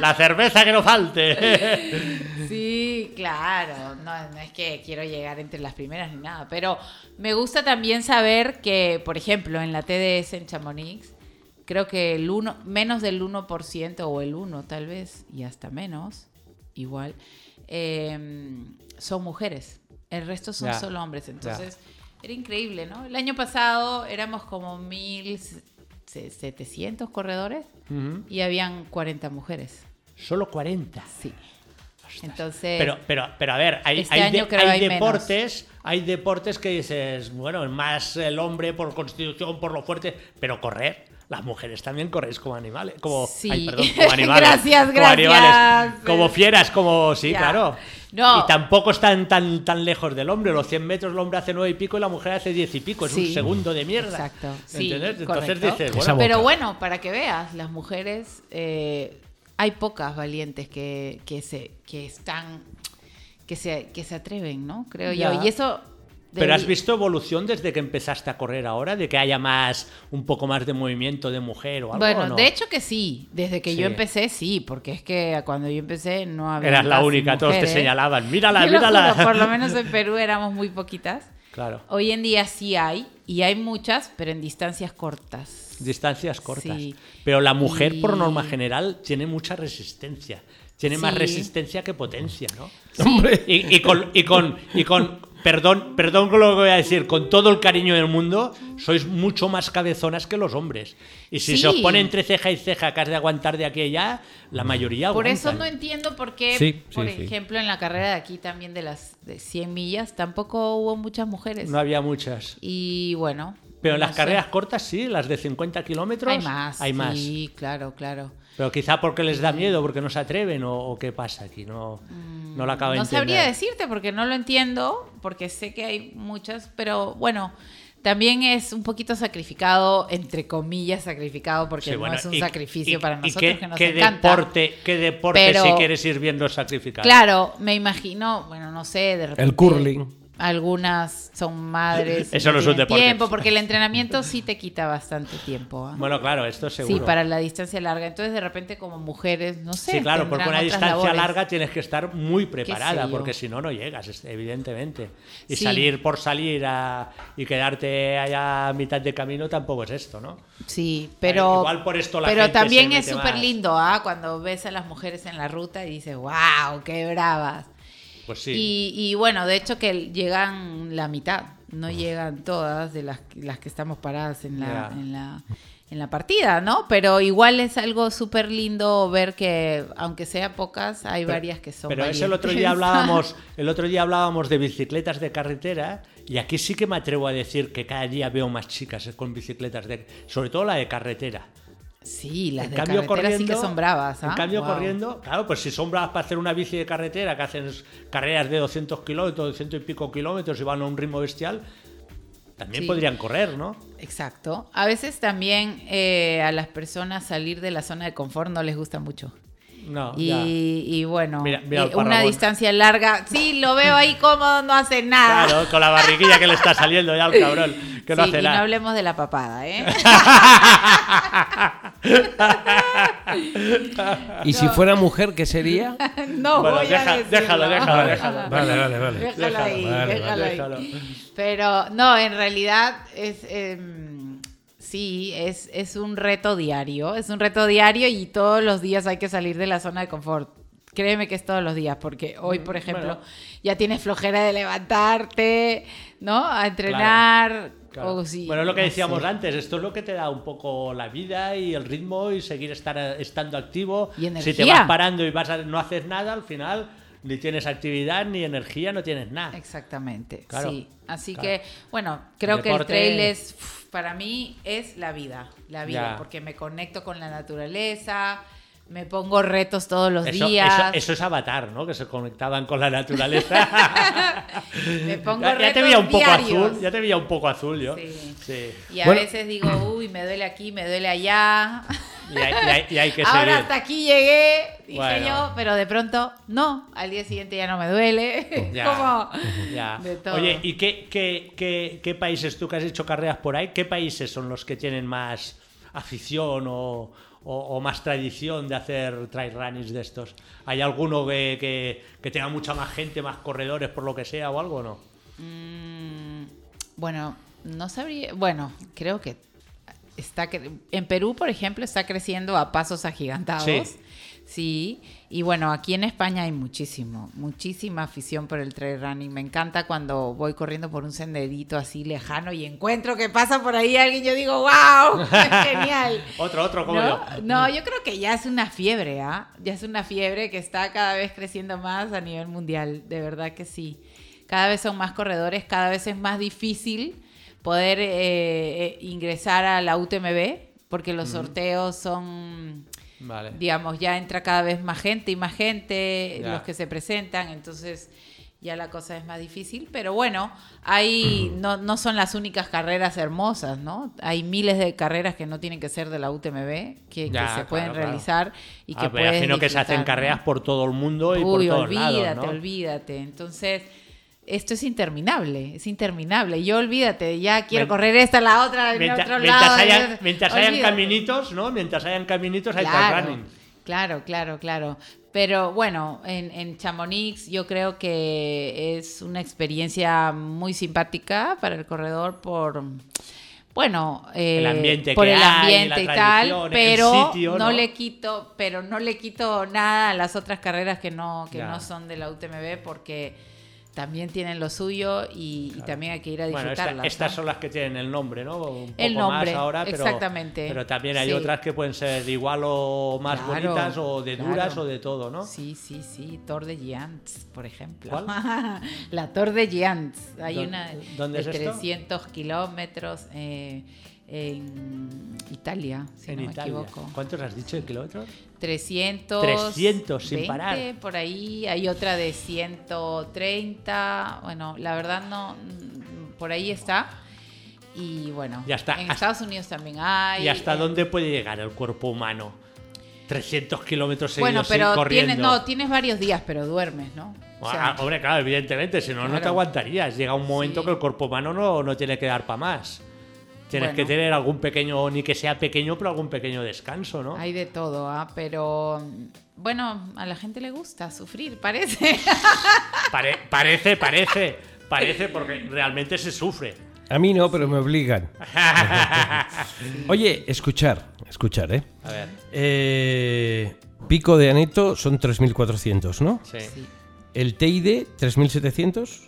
Speaker 2: La cerveza que no falte.
Speaker 4: Sí, claro, no, no es que quiero llegar entre las primeras ni nada, pero me gusta también saber que, por ejemplo, en la TDS en Chamonix, creo que el uno, menos del 1% o el 1 tal vez, y hasta menos, igual, eh, son mujeres, el resto son
Speaker 2: Ya,
Speaker 4: solo hombres, entonces era increíble, ¿no? El año pasado éramos como 1.700 corredores
Speaker 2: Ujú.
Speaker 4: y habían 40 mujeres,
Speaker 2: Solo 40.
Speaker 4: sí. Entonces,
Speaker 2: Pero, pero, pero a ver, hay,
Speaker 4: Este
Speaker 2: hay de-
Speaker 4: año creo
Speaker 2: hay
Speaker 4: hay menos.
Speaker 2: deportes, hay deportes que dices, bueno, más el hombre por constitución, por lo fuerte, pero correr, las mujeres también corréis como animales, como,
Speaker 4: Sí.
Speaker 2: ay, perdón, como animales,
Speaker 4: Gracias,
Speaker 2: como
Speaker 4: gracias.
Speaker 2: animales, como fieras, como sí,
Speaker 4: Ya.
Speaker 2: claro.
Speaker 4: No.
Speaker 2: Y tampoco están tan tan lejos del hombre, los 100 metros el hombre hace 9 y pico y la mujer hace 10 y pico, es un
Speaker 4: Sí.
Speaker 2: segundo de mierda.
Speaker 4: Exacto. Sí,
Speaker 2: ¿Entendés? Entonces
Speaker 4: correcto.
Speaker 2: dices,
Speaker 3: Esa
Speaker 2: bueno,
Speaker 3: boca.
Speaker 4: Pero bueno, para que veas, las mujeres eh, hay pocas valientes que, que se que están que se que se atreven, ¿no? Creo
Speaker 2: Ya.
Speaker 4: yo. Y eso
Speaker 2: Pero has
Speaker 4: debería-
Speaker 2: visto evolución desde que empezaste a correr ahora, de que haya más, un poco más de movimiento de mujer o algo.
Speaker 4: Bueno,
Speaker 2: ¿o no?
Speaker 4: de hecho que sí, desde que
Speaker 2: Sí.
Speaker 4: yo empecé sí, porque es que cuando yo empecé no había
Speaker 2: eras la
Speaker 4: casi
Speaker 2: única, todos te
Speaker 4: mujeres.
Speaker 2: señalaban,
Speaker 4: Te
Speaker 2: mírala,
Speaker 4: lo
Speaker 2: mírala.
Speaker 4: juro, por lo menos en Perú éramos muy poquitas.
Speaker 2: Claro,
Speaker 4: Hoy en día sí hay y hay muchas, pero en distancias cortas.
Speaker 2: distancias cortas.
Speaker 4: Sí.
Speaker 2: Pero la mujer, por
Speaker 4: Y-
Speaker 2: norma general, tiene mucha resistencia. Tiene más
Speaker 4: Sí.
Speaker 2: resistencia que potencia, ¿no?
Speaker 3: Hombre.
Speaker 2: Y, y con, y con, y con, perdón, perdón con lo que voy a decir, con todo el cariño del mundo, sois mucho más cabezonas que los hombres. Y si se os
Speaker 4: Sí.
Speaker 2: pone entre ceja y ceja que has de aguantar de aquí a allá, la mayoría
Speaker 4: Por eso no
Speaker 2: aguantan.
Speaker 4: entiendo por qué,
Speaker 3: Sí, sí,
Speaker 4: por
Speaker 3: sí.
Speaker 4: ejemplo, en la carrera de aquí también de las de 100 millas tampoco hubo muchas mujeres.
Speaker 2: No había muchas.
Speaker 4: Y bueno.
Speaker 2: Pero en
Speaker 4: no
Speaker 2: las
Speaker 4: sé.
Speaker 2: carreras cortas sí, las de 50 kilómetros.
Speaker 4: hay más.
Speaker 2: Hay más.
Speaker 4: Sí, claro, claro.
Speaker 2: Pero quizá porque les da miedo, porque no se atreven o, o qué pasa aquí. No, no lo acabo de
Speaker 4: Mm, No
Speaker 2: entender.
Speaker 4: sabría decirte porque no lo entiendo, porque sé que hay muchas, pero bueno, también es un poquito sacrificado, entre comillas sacrificado, porque
Speaker 2: Sí,
Speaker 4: no
Speaker 2: bueno,
Speaker 4: es un
Speaker 2: y-
Speaker 4: sacrificio
Speaker 2: y-
Speaker 4: para
Speaker 2: y
Speaker 4: nosotros
Speaker 2: qué-
Speaker 4: que nos
Speaker 2: qué
Speaker 4: encanta.
Speaker 2: Deporte, ¿Qué deporte
Speaker 4: Pero-
Speaker 2: si quieres ir viendo sacrificado?
Speaker 4: Claro, me imagino, bueno, no sé, de repente.
Speaker 3: curling.
Speaker 4: Algunas son madres. y
Speaker 2: Eso no es un
Speaker 4: tienen
Speaker 2: deporte.
Speaker 4: Tiempo, porque el entrenamiento sí te quita bastante tiempo. ¿ah?
Speaker 2: Bueno, claro, esto seguro.
Speaker 4: sí, para la distancia larga. Entonces, de repente, como mujeres, no sé.
Speaker 2: Sí, claro, porque
Speaker 4: tendrán
Speaker 2: una
Speaker 4: otras
Speaker 2: distancia
Speaker 4: labores.
Speaker 2: larga tienes que estar muy preparada,
Speaker 4: yo.
Speaker 2: porque si no, no llegas, es- evidentemente. Y
Speaker 4: Sí.
Speaker 2: salir por salir a- y quedarte allá a mitad de camino tampoco es esto, ¿no?
Speaker 4: Sí, pero.
Speaker 2: eh, Igual por esto la
Speaker 4: Pero
Speaker 2: gente
Speaker 4: también
Speaker 2: se
Speaker 4: es
Speaker 2: mete
Speaker 4: súper
Speaker 2: más.
Speaker 4: lindo, ¿ah? Cuando ves a las mujeres en la ruta y dices, wow, qué bravas.
Speaker 2: Pues sí.
Speaker 4: Y, y bueno, de hecho que llegan la mitad, no llegan todas de las, las que estamos paradas en la,
Speaker 2: Ya.
Speaker 4: en la, en la partida, ¿no? Pero igual es algo súper lindo ver que, aunque sea pocas, hay varias que son
Speaker 2: Pero eso el otro
Speaker 4: valientes.
Speaker 2: día hablábamos, el otro día hablábamos de bicicletas de carretera y aquí sí que me atrevo a decir que cada día veo más chicas con bicicletas de, sobre todo la de carretera.
Speaker 4: Sí, las
Speaker 2: En
Speaker 4: de
Speaker 2: cambio,
Speaker 4: carretera sí que
Speaker 2: corriendo-
Speaker 4: son bravas, ¿ah?
Speaker 2: En cambio
Speaker 4: Guau.
Speaker 2: corriendo, claro, pues si son bravas para hacer una bici de carretera que hacen s- carreras de 200 kilómetros, 200 y pico kilómetros y van a un ritmo bestial, también
Speaker 4: Sí.
Speaker 2: podrían correr, ¿no?
Speaker 4: Exacto. A veces también eh, a las personas salir de la zona de confort no les gusta mucho.
Speaker 2: No,
Speaker 4: Y,
Speaker 2: Ah, ya.
Speaker 4: y bueno,
Speaker 2: Mira- mira el
Speaker 4: eh, una
Speaker 2: parrabón.
Speaker 4: distancia larga. Sí, lo veo ahí cómodo, no hace nada.
Speaker 2: Claro, con la barriguilla que le está saliendo ya al cabrón, que no
Speaker 4: Ah. Sí,
Speaker 2: hace
Speaker 4: y no
Speaker 2: nada.
Speaker 4: hablemos de la papada, ¿eh?
Speaker 3: Y si fuera mujer, ¿qué sería?
Speaker 4: No
Speaker 2: Bueno,
Speaker 4: voy
Speaker 2: deja-
Speaker 4: a decirlo.
Speaker 2: déjalo, déjalo, déjalo.
Speaker 3: Vale, vale, vale.
Speaker 4: Déjalo ahí,
Speaker 3: Vale,
Speaker 4: déjalo
Speaker 2: vale.
Speaker 4: ahí.
Speaker 2: Déjalo.
Speaker 4: Pero no, en realidad es em, sí, es, es un reto diario, es un reto diario y todos los días hay que salir de la zona de confort. Créeme que es todos los días, porque hoy, por ejemplo,
Speaker 2: bueno.
Speaker 4: ya tienes flojera de levantarte, ¿no? A entrenar.
Speaker 2: Claro.
Speaker 4: o si-
Speaker 2: bueno, es lo que
Speaker 4: no
Speaker 2: decíamos
Speaker 4: sé.
Speaker 2: antes, esto es lo que te da un poco la vida y el ritmo y seguir estar, eh, estando activo.
Speaker 4: Y energía.
Speaker 2: si te vas parando y vas a, no haces nada, al final ni tienes actividad, ni energía, no tienes nada.
Speaker 4: Exactamente,
Speaker 2: Claro,
Speaker 4: sí. Así
Speaker 2: claro.
Speaker 4: que, bueno, creo que el
Speaker 2: Deporte-
Speaker 4: trail es, uf, para mí, es la vida, la vida,
Speaker 2: Ya.
Speaker 4: porque me conecto con la naturaleza, me pongo retos todos los
Speaker 2: Eso, eso-
Speaker 4: días,
Speaker 2: eso es avatar, ¿no? Que se conectaban con la naturaleza.
Speaker 4: me pongo
Speaker 2: ya, ya
Speaker 4: retos
Speaker 2: te veía un poco
Speaker 4: diarios.
Speaker 2: azul, ya te veía un poco azul yo.
Speaker 4: Sí.
Speaker 2: Sí.
Speaker 4: Y a
Speaker 3: Bueno.
Speaker 4: veces digo, uy, me duele aquí, me duele allá.
Speaker 2: Y, hay, y hay- y hay que
Speaker 4: Ahora
Speaker 2: seguir.
Speaker 4: hasta aquí llegué, dije
Speaker 2: Bueno.
Speaker 4: yo, pero de pronto, no, al día siguiente ya no me duele.
Speaker 2: Ya.
Speaker 4: Como
Speaker 2: Ya.
Speaker 4: de todo.
Speaker 2: Oye, ¿y qué, qué, qué, qué países tú que has hecho carreras por ahí? ¿Qué países son los que tienen más afición o, o- o más tradición de hacer trail runnings de estos? ¿Hay alguno que, que- que tenga mucha más gente, más corredores, por lo que sea o algo o no?
Speaker 4: Mm, Bueno, no sabría. Bueno, creo que está cre- en Perú, por ejemplo, está creciendo a pasos agigantados.
Speaker 2: Sí.
Speaker 4: Sí, y bueno, aquí en España hay muchísimo, muchísima afición por el trail running. Me encanta cuando voy corriendo por un senderito así lejano y encuentro que pasa por ahí alguien, yo digo, wow, genial.
Speaker 2: Otro, otro, como yo.
Speaker 4: ¿No? No, yo creo que ya es una fiebre, ¿ah? Ya es una fiebre que está cada vez creciendo más a nivel mundial, de verdad que sí. Cada vez son más corredores, cada vez es más difícil poder eh, eh, ingresar a la UTMB porque los sorteos son
Speaker 2: Vale.
Speaker 4: digamos, ya entra cada vez más gente y más gente,
Speaker 2: Ya.
Speaker 4: los que se presentan, entonces ya la cosa es más difícil, pero bueno, hay, no, no son las únicas carreras hermosas, ¿no? Hay miles de carreras que no tienen que ser de la UTMB, que, que
Speaker 2: Ya,
Speaker 4: se pueden
Speaker 2: claro, claro.
Speaker 4: realizar y
Speaker 2: Ah,
Speaker 4: que
Speaker 2: pero
Speaker 4: pueden
Speaker 2: imagino que se hacen
Speaker 4: disfrutar,
Speaker 2: carreras
Speaker 4: ¿no?
Speaker 2: por todo el mundo y por
Speaker 4: Uy,
Speaker 2: todos
Speaker 4: olvídate,
Speaker 2: lados, ¿no?
Speaker 4: olvídate. Entonces, esto es interminable, es interminable. Yo olvídate, ya quiero
Speaker 2: Mien-
Speaker 4: correr esta, la otra, el
Speaker 2: Mientras,
Speaker 4: otro
Speaker 2: mientras
Speaker 4: lado.
Speaker 2: hayan, mientras hayan
Speaker 4: olvídate.
Speaker 2: caminitos, ¿no? Mientras hayan caminitos hay trail
Speaker 4: Claro,
Speaker 2: running.
Speaker 4: claro, claro, claro. Pero bueno, en, en Chamonix yo creo que es una experiencia muy simpática para el corredor por, bueno, eh,
Speaker 2: El ambiente
Speaker 4: por
Speaker 2: que hay,
Speaker 4: el
Speaker 2: la
Speaker 4: ambiente y
Speaker 2: tradición,
Speaker 4: tal,
Speaker 2: el
Speaker 4: pero
Speaker 2: sitio, ¿no?
Speaker 4: no, le quito, pero no le quito nada a las otras carreras que no que
Speaker 2: Ya.
Speaker 4: no son de la UTMB porque también tienen lo suyo y, y también hay que ir a
Speaker 2: Bueno, esta-
Speaker 4: disfrutarlas.
Speaker 2: estas
Speaker 4: ¿no?
Speaker 2: son las que tienen el nombre, ¿no? Un
Speaker 4: El
Speaker 2: poco
Speaker 4: nombre,
Speaker 2: más ahora, pero,
Speaker 4: exactamente.
Speaker 2: Pero también hay
Speaker 4: Sí.
Speaker 2: otras que pueden ser igual o más
Speaker 4: Claro,
Speaker 2: bonitas o de duras
Speaker 4: claro.
Speaker 2: o de todo, ¿no?
Speaker 4: Sí, sí, sí. Tor de Giants, por ejemplo.
Speaker 2: ¿Cuál?
Speaker 4: la Tor de Giants. Hay
Speaker 2: ¿Dó-
Speaker 4: una
Speaker 2: dónde
Speaker 4: de
Speaker 2: es esto?
Speaker 4: 300 kilómetros eh, en Italia, si
Speaker 2: en
Speaker 4: no
Speaker 2: Italia.
Speaker 4: me equivoco.
Speaker 2: ¿Cuántos has dicho el kilómetro?
Speaker 4: 300.
Speaker 2: 300 sin parar.
Speaker 4: 20 Por ahí hay otra de 130. Bueno, la verdad no. mm, Por ahí está. Y bueno,
Speaker 2: Ya está.
Speaker 4: en
Speaker 2: Hasta-
Speaker 4: Estados Unidos también hay.
Speaker 2: ¿Y hasta
Speaker 4: eh,
Speaker 2: dónde puede llegar el cuerpo humano? 300 kilómetros seguidos
Speaker 4: Bueno,
Speaker 2: sin-
Speaker 4: pero
Speaker 2: corriendo.
Speaker 4: tienes, no, tienes varios días, pero duermes, ¿no? O sea,
Speaker 2: Ah, hombre, claro, evidentemente, si no, no te
Speaker 4: Claro.
Speaker 2: aguantarías. Llega un momento
Speaker 4: Sí.
Speaker 2: que el cuerpo humano no, no tiene que dar para más. Tienes
Speaker 4: Bueno.
Speaker 2: que tener algún pequeño, ni que sea pequeño, pero algún pequeño descanso, ¿no?
Speaker 4: Hay de todo, ¿ah? pero bueno, a la gente le gusta sufrir, parece.
Speaker 2: Pare- parece, parece, parece, porque realmente se sufre.
Speaker 3: A mí no, pero me obligan. Oye, escuchar, escuchar, ¿eh?
Speaker 2: A ver,
Speaker 3: Eh, Pico de Aneto son 3.400, ¿no?
Speaker 2: sí.
Speaker 4: Sí.
Speaker 3: El Teide, 3.700.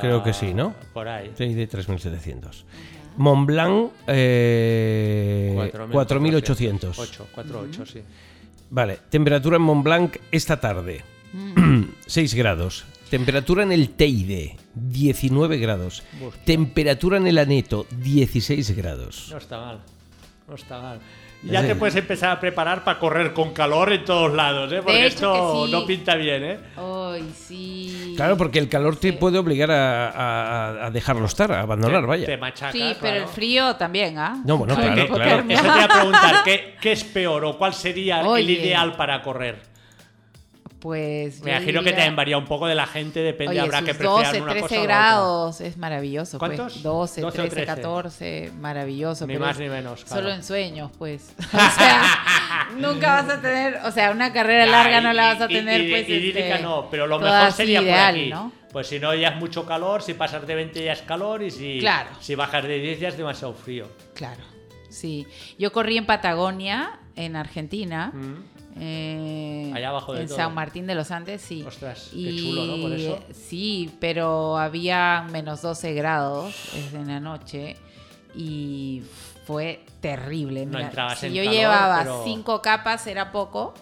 Speaker 3: Creo que sí, ¿no?
Speaker 2: Ah, Por ahí.
Speaker 3: Teide, 3.700. Mont Blanc, eh, 4.800.
Speaker 2: 8, 4, 8, sí.
Speaker 3: Vale, temperatura en Mont Blanc esta tarde,
Speaker 2: Mm.
Speaker 3: 6 grados. Temperatura en el Teide, 19 grados.
Speaker 2: Hostia.
Speaker 3: Temperatura en el Aneto, 16 grados.
Speaker 2: No está mal. No está mal.
Speaker 3: Eh.
Speaker 2: Ya te puedes empezar a preparar para correr con calor en todos lados, ¿eh? Porque
Speaker 4: hecho
Speaker 2: esto
Speaker 4: que sí.
Speaker 2: no pinta bien, ¿eh?
Speaker 4: Ay, sí.
Speaker 3: Claro, porque el calor te puede obligar a, a- a dejarlo estar, a abandonar,
Speaker 2: Te
Speaker 3: vaya.
Speaker 2: machaca.
Speaker 4: Sí, pero
Speaker 2: claro.
Speaker 4: el frío también, ¿ah?
Speaker 3: No, bueno,
Speaker 4: Ay,
Speaker 3: claro,
Speaker 4: qué
Speaker 3: claro.
Speaker 2: Eso te
Speaker 4: enfermo.
Speaker 2: iba a preguntar, ¿qué, qué es peor o cuál sería el
Speaker 4: Oye.
Speaker 2: ideal para correr?
Speaker 4: Pues
Speaker 2: Me
Speaker 4: yo
Speaker 2: imagino que
Speaker 4: diría-
Speaker 2: también varía un poco de la gente, depende,
Speaker 4: Oye,
Speaker 2: habrá
Speaker 4: sus
Speaker 2: que preferir
Speaker 4: 12,
Speaker 2: una cosa
Speaker 4: 13
Speaker 2: u otra.
Speaker 4: grados es maravilloso. pues.
Speaker 2: ¿Cuántos? 12
Speaker 4: 12,
Speaker 2: o
Speaker 4: 13,
Speaker 2: 13.
Speaker 4: 14, maravilloso.
Speaker 2: Ni
Speaker 4: pero
Speaker 2: más
Speaker 4: es
Speaker 2: ni menos, claro.
Speaker 4: Solo en sueños, pues. O sea, nunca vas a tener, o sea, una carrera
Speaker 2: Ya,
Speaker 4: larga
Speaker 2: y-
Speaker 4: no la vas a
Speaker 2: y- y-
Speaker 4: tener,
Speaker 2: y-
Speaker 4: pues.
Speaker 2: idílica
Speaker 4: este,
Speaker 2: no, pero lo
Speaker 4: toda
Speaker 2: mejor
Speaker 4: así
Speaker 2: sería
Speaker 4: ideal,
Speaker 2: por aquí.
Speaker 4: ¿no?
Speaker 2: Pues si no, ya es mucho calor, si pasas de 20 ya es calor y si,
Speaker 4: Claro.
Speaker 2: si bajas de 10 ya es demasiado frío.
Speaker 4: Claro, sí. Yo corrí en Patagonia, en Argentina. eh,
Speaker 2: Mm. Allá abajo de
Speaker 4: En
Speaker 2: todo.
Speaker 4: San Martín de los Andes, sí.
Speaker 2: Ostras, qué chulo, ¿no? Por eso.
Speaker 4: Sí, pero había menos 12 grados es en la noche y fue terrible.
Speaker 2: No entrabas
Speaker 4: si
Speaker 2: en
Speaker 4: yo
Speaker 2: calor,
Speaker 4: llevaba
Speaker 2: pero-
Speaker 4: cinco capas era poco.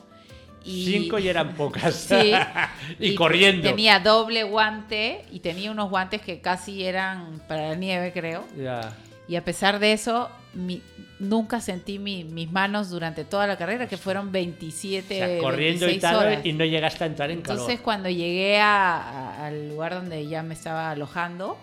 Speaker 4: Y...
Speaker 2: 5 y eran pocas.
Speaker 4: Sí.
Speaker 2: y, corriendo.
Speaker 4: Tenía doble guante y tenía unos guantes que casi eran para la nieve, creo.
Speaker 2: Ya.
Speaker 4: Y a pesar de eso, mi- nunca sentí mi- mis manos durante toda la carrera, que fueron
Speaker 2: O
Speaker 4: 27
Speaker 2: sea, corriendo y
Speaker 4: 26
Speaker 2: tal
Speaker 4: horas.
Speaker 2: y no llegaste a entrar en calor.
Speaker 4: Entonces, cuando llegué a- a- al lugar donde ya me estaba alojando,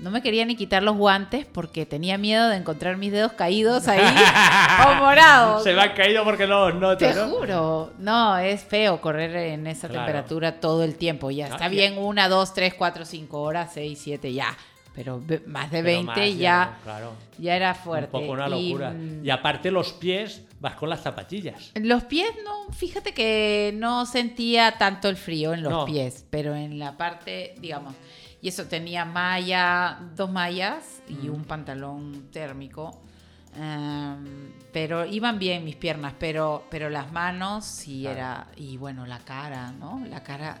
Speaker 4: no me quería ni quitar los guantes porque tenía miedo de encontrar mis dedos caídos ahí o morados.
Speaker 2: Se me han caído porque no los noto,
Speaker 4: Te
Speaker 2: ¿no?
Speaker 4: juro, no, es feo correr en esa
Speaker 2: Claro.
Speaker 4: temperatura todo el tiempo. Ya
Speaker 2: Ah,
Speaker 4: está
Speaker 2: ya.
Speaker 4: bien, una, dos, tres, cuatro, cinco horas, seis, siete, ya. Pero ve- más de
Speaker 2: Pero
Speaker 4: 20
Speaker 2: más,
Speaker 4: ya,
Speaker 2: no, claro.
Speaker 4: ya era fuerte.
Speaker 2: Un poco una
Speaker 4: Y,
Speaker 2: locura.
Speaker 4: mm,
Speaker 2: Y, aparte los pies vas con las zapatillas.
Speaker 4: Los pies, no, fíjate que no sentía tanto el frío en los
Speaker 2: No.
Speaker 4: pies, pero en la parte, digamos, y eso tenía malla, dos mallas y un pantalón térmico. Em, pero iban bien mis piernas, pero, pero las manos sí era. Y bueno, la cara, ¿no? La cara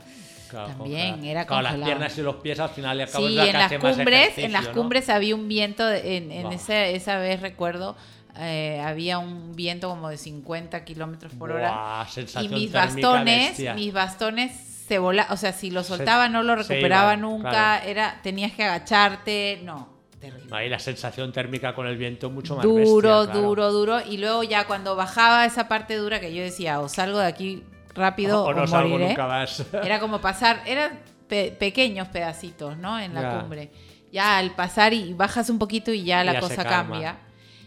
Speaker 2: Claro,
Speaker 4: también
Speaker 2: claro.
Speaker 4: era
Speaker 2: Claro, las
Speaker 4: congelada.
Speaker 2: piernas y los pies al final le acabas
Speaker 4: Sí,
Speaker 2: la que
Speaker 4: en las
Speaker 2: hace más
Speaker 4: cumbres,
Speaker 2: ejercicio,
Speaker 4: en las
Speaker 2: ¿no?
Speaker 4: cumbres había un viento, de- en, en
Speaker 2: Buah.
Speaker 4: ese- esa vez recuerdo, eh, había un viento como de 50 kilómetros por
Speaker 2: Buah,
Speaker 4: hora. Y
Speaker 2: sensación
Speaker 4: mis
Speaker 2: térmica
Speaker 4: bastones,
Speaker 2: bestia.
Speaker 4: mis bastones se volaban, o sea, si lo soltaba no lo
Speaker 2: se
Speaker 4: recuperaba
Speaker 2: iban,
Speaker 4: nunca,
Speaker 2: claro.
Speaker 4: era, tenías que agacharte, no, terrible.
Speaker 2: Ahí la sensación térmica con el viento mucho más
Speaker 4: duro,
Speaker 2: bestia, claro.
Speaker 4: duro, duro. Y luego ya cuando bajaba esa parte dura que yo decía, o salgo de aquí rápido
Speaker 2: O,
Speaker 4: o,
Speaker 2: o no salgo
Speaker 4: moriré.
Speaker 2: nunca más.
Speaker 4: Era como pasar, eran pe- pequeños pedacitos, ¿no? En la
Speaker 2: Ya.
Speaker 4: cumbre. Ya al pasar y bajas un poquito y ya la
Speaker 2: Ya se
Speaker 4: cosa
Speaker 2: calma.
Speaker 4: cambia.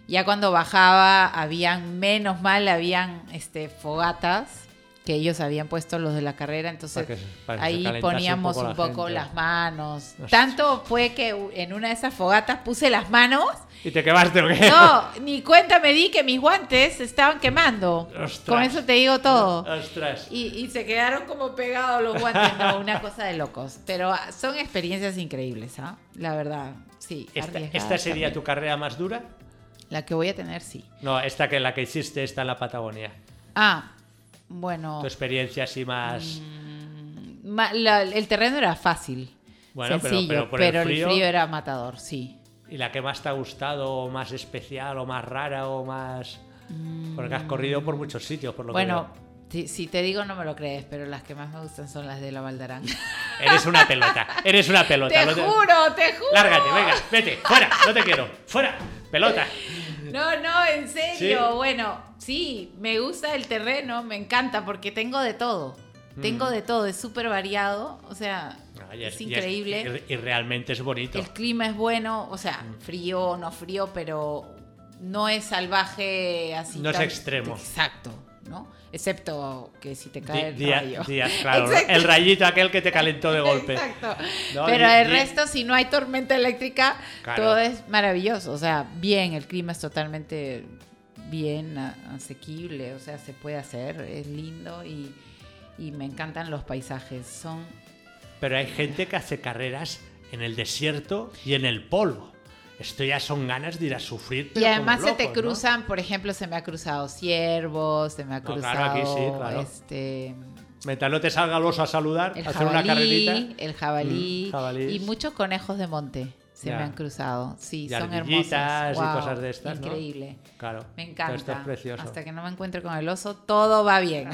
Speaker 4: Ya cuando bajaba, habían, menos mal, habían este, fogatas que ellos habían puesto los de la carrera, entonces
Speaker 2: Para que- para que se
Speaker 4: ahí
Speaker 2: calentase un
Speaker 4: poníamos
Speaker 2: poco
Speaker 4: un
Speaker 2: la
Speaker 4: poco,
Speaker 2: gente.
Speaker 4: las manos. Tanto fue que u- en una de esas fogatas puse las manos,
Speaker 2: ¿Y te quemaste o qué?
Speaker 4: no, ni cuenta me di que mis guantes se estaban quemando.
Speaker 2: Ostras.
Speaker 4: Con eso te digo todo.
Speaker 2: Ostras.
Speaker 4: Y, y se quedaron como pegados los guantes, no, una cosa de locos. Pero ah, son experiencias increíbles, ¿ah? La verdad, sí.
Speaker 2: Esta,
Speaker 4: arriesgadas
Speaker 2: ¿Esta sería tu
Speaker 4: también.
Speaker 2: carrera más dura?
Speaker 4: La que voy a tener, sí.
Speaker 2: No, esta que la que hiciste está en la Patagonia.
Speaker 4: Ah, bueno.
Speaker 2: Tu experiencia así más...
Speaker 4: ma- la- el terreno era fácil.
Speaker 2: Bueno, pero-
Speaker 4: sencillo,
Speaker 2: pero por el frío-
Speaker 4: era matador, sí.
Speaker 2: ¿Y la que más te ha gustado o más especial o más rara o más...? Porque has corrido por muchos sitios, por lo
Speaker 4: Mm. Bueno,
Speaker 2: que
Speaker 4: si, si te digo no me lo crees, pero las que más me gustan son las de la Valdarán.
Speaker 2: veo. Eres una pelota, eres una pelota.
Speaker 4: te
Speaker 2: no te-
Speaker 4: juro, te juro.
Speaker 2: Lárgate, venga, vete, fuera, no te quiero, fuera, pelota.
Speaker 4: No, no, en serio.
Speaker 2: ¿Sí?
Speaker 4: Bueno, sí, me gusta el terreno, me encanta porque tengo de todo.
Speaker 2: Mm.
Speaker 4: Tengo de todo, es súper variado, o sea,
Speaker 2: No, y
Speaker 4: es
Speaker 2: y
Speaker 4: increíble.
Speaker 2: y, y realmente es bonito.
Speaker 4: el clima es bueno, o sea,
Speaker 2: Mm.
Speaker 4: frío o no frío, pero no es salvaje así.
Speaker 2: No es extremo.
Speaker 4: Exacto, ¿no? Excepto que si te
Speaker 2: Di-
Speaker 4: cae el
Speaker 2: día-
Speaker 4: rayo.
Speaker 2: día- claro,
Speaker 4: Exacto.
Speaker 2: el rayito aquel que te calentó de golpe.
Speaker 4: Exacto.
Speaker 2: No,
Speaker 4: Pero
Speaker 2: di-
Speaker 4: el
Speaker 2: di-
Speaker 4: resto, si no hay tormenta eléctrica,
Speaker 2: Claro.
Speaker 4: todo es maravilloso. O sea, bien, el clima es totalmente bien a- asequible. O sea, se puede hacer, es lindo y, y me encantan los paisajes. Son.
Speaker 2: Pero hay gente que hace carreras en el desierto y en el polvo. Esto ya son ganas de ir a sufrir.
Speaker 4: Y
Speaker 2: pero como
Speaker 4: además se te
Speaker 2: locos, ¿no?
Speaker 4: cruzan, por ejemplo, se me ha cruzado ciervos, se me ha
Speaker 2: No,
Speaker 4: cruzado
Speaker 2: claro, aquí sí, claro.
Speaker 4: este
Speaker 2: Mientras no te salga el oso a saludar,
Speaker 4: el
Speaker 2: a hacer una
Speaker 4: jabalí,
Speaker 2: carrerita.
Speaker 4: el jabalí,
Speaker 2: Mm, jabalís.
Speaker 4: y muchos conejos de monte se
Speaker 2: Ya.
Speaker 4: me han cruzado. Sí,
Speaker 2: Y
Speaker 4: son hermosos.
Speaker 2: ardillitas y
Speaker 4: Guau,
Speaker 2: cosas de estas, ¿no?
Speaker 4: Increíble.
Speaker 2: Claro.
Speaker 4: Me
Speaker 2: todo
Speaker 4: encanta.
Speaker 2: Esto es precioso.
Speaker 4: Hasta que no me encuentre con el oso, todo va bien.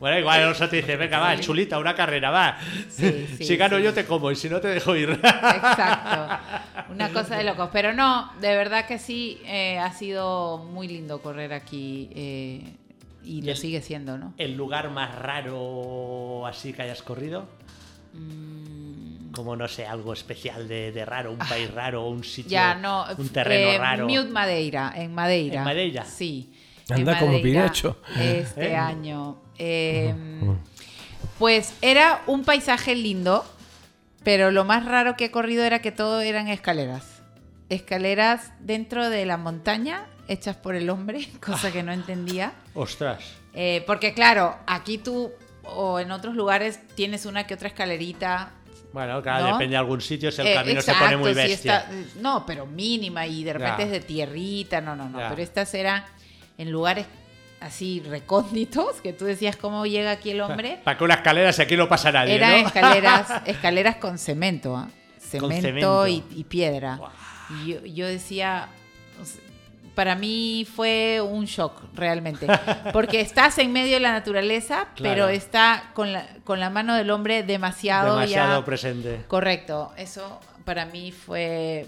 Speaker 2: Bueno, igual el oso te dice, venga, va, chulita, una carrera, va.
Speaker 4: Sí, sí,
Speaker 2: si gano
Speaker 4: sí.
Speaker 2: yo te como y si no te dejo ir.
Speaker 4: Exacto. Una cosa de locos. Pero no, de verdad que sí, eh, ha sido muy lindo correr aquí. eh, y
Speaker 2: Y
Speaker 4: lo
Speaker 2: el-
Speaker 4: sigue siendo, ¿no?
Speaker 2: ¿El lugar más raro así que hayas corrido? Como no sé, algo especial de, de raro, un país raro, un sitio,
Speaker 4: Mm. Ah. Ya, no.
Speaker 2: un terreno
Speaker 4: eh,
Speaker 2: raro.
Speaker 4: Mute Madeira, en Madeira.
Speaker 2: ¿En Madeira?
Speaker 4: Sí.
Speaker 3: Anda,
Speaker 4: en
Speaker 3: como
Speaker 4: Madeira
Speaker 3: Pinacho.
Speaker 4: Este año. Eh, pues era un paisaje lindo, pero lo más raro que he corrido era que todo eran escaleras. Escaleras dentro de la montaña, hechas por el hombre, cosa que no entendía.
Speaker 2: Ostras.
Speaker 4: Eh, porque claro, aquí tú o en otros lugares tienes una que otra escalerita.
Speaker 2: Bueno, claro,
Speaker 4: ¿No?
Speaker 2: depende de algún sitio, si el
Speaker 4: Eh,
Speaker 2: camino se
Speaker 4: exacto,
Speaker 2: pone muy
Speaker 4: si
Speaker 2: bestia.
Speaker 4: está- no, pero mínima y de repente
Speaker 2: Ya.
Speaker 4: es de tierrita, no, no, no.
Speaker 2: Ya.
Speaker 4: Pero estas eran en lugares así recónditos que tú decías cómo llega aquí el hombre.
Speaker 2: Para que una escalera, si aquí no pasa nadie,
Speaker 4: Eran
Speaker 2: ¿no?
Speaker 4: escaleras, escaleras con cemento, ¿ah? cemento,
Speaker 2: cemento.
Speaker 4: Y, y piedra. Y yo, yo decía, o sea, para mí fue un shock realmente, porque estás en medio de la naturaleza,
Speaker 2: Claro.
Speaker 4: pero está con la, con la mano del hombre demasiado,
Speaker 2: Demasiado
Speaker 4: ya.
Speaker 2: presente.
Speaker 4: Correcto, eso para mí fue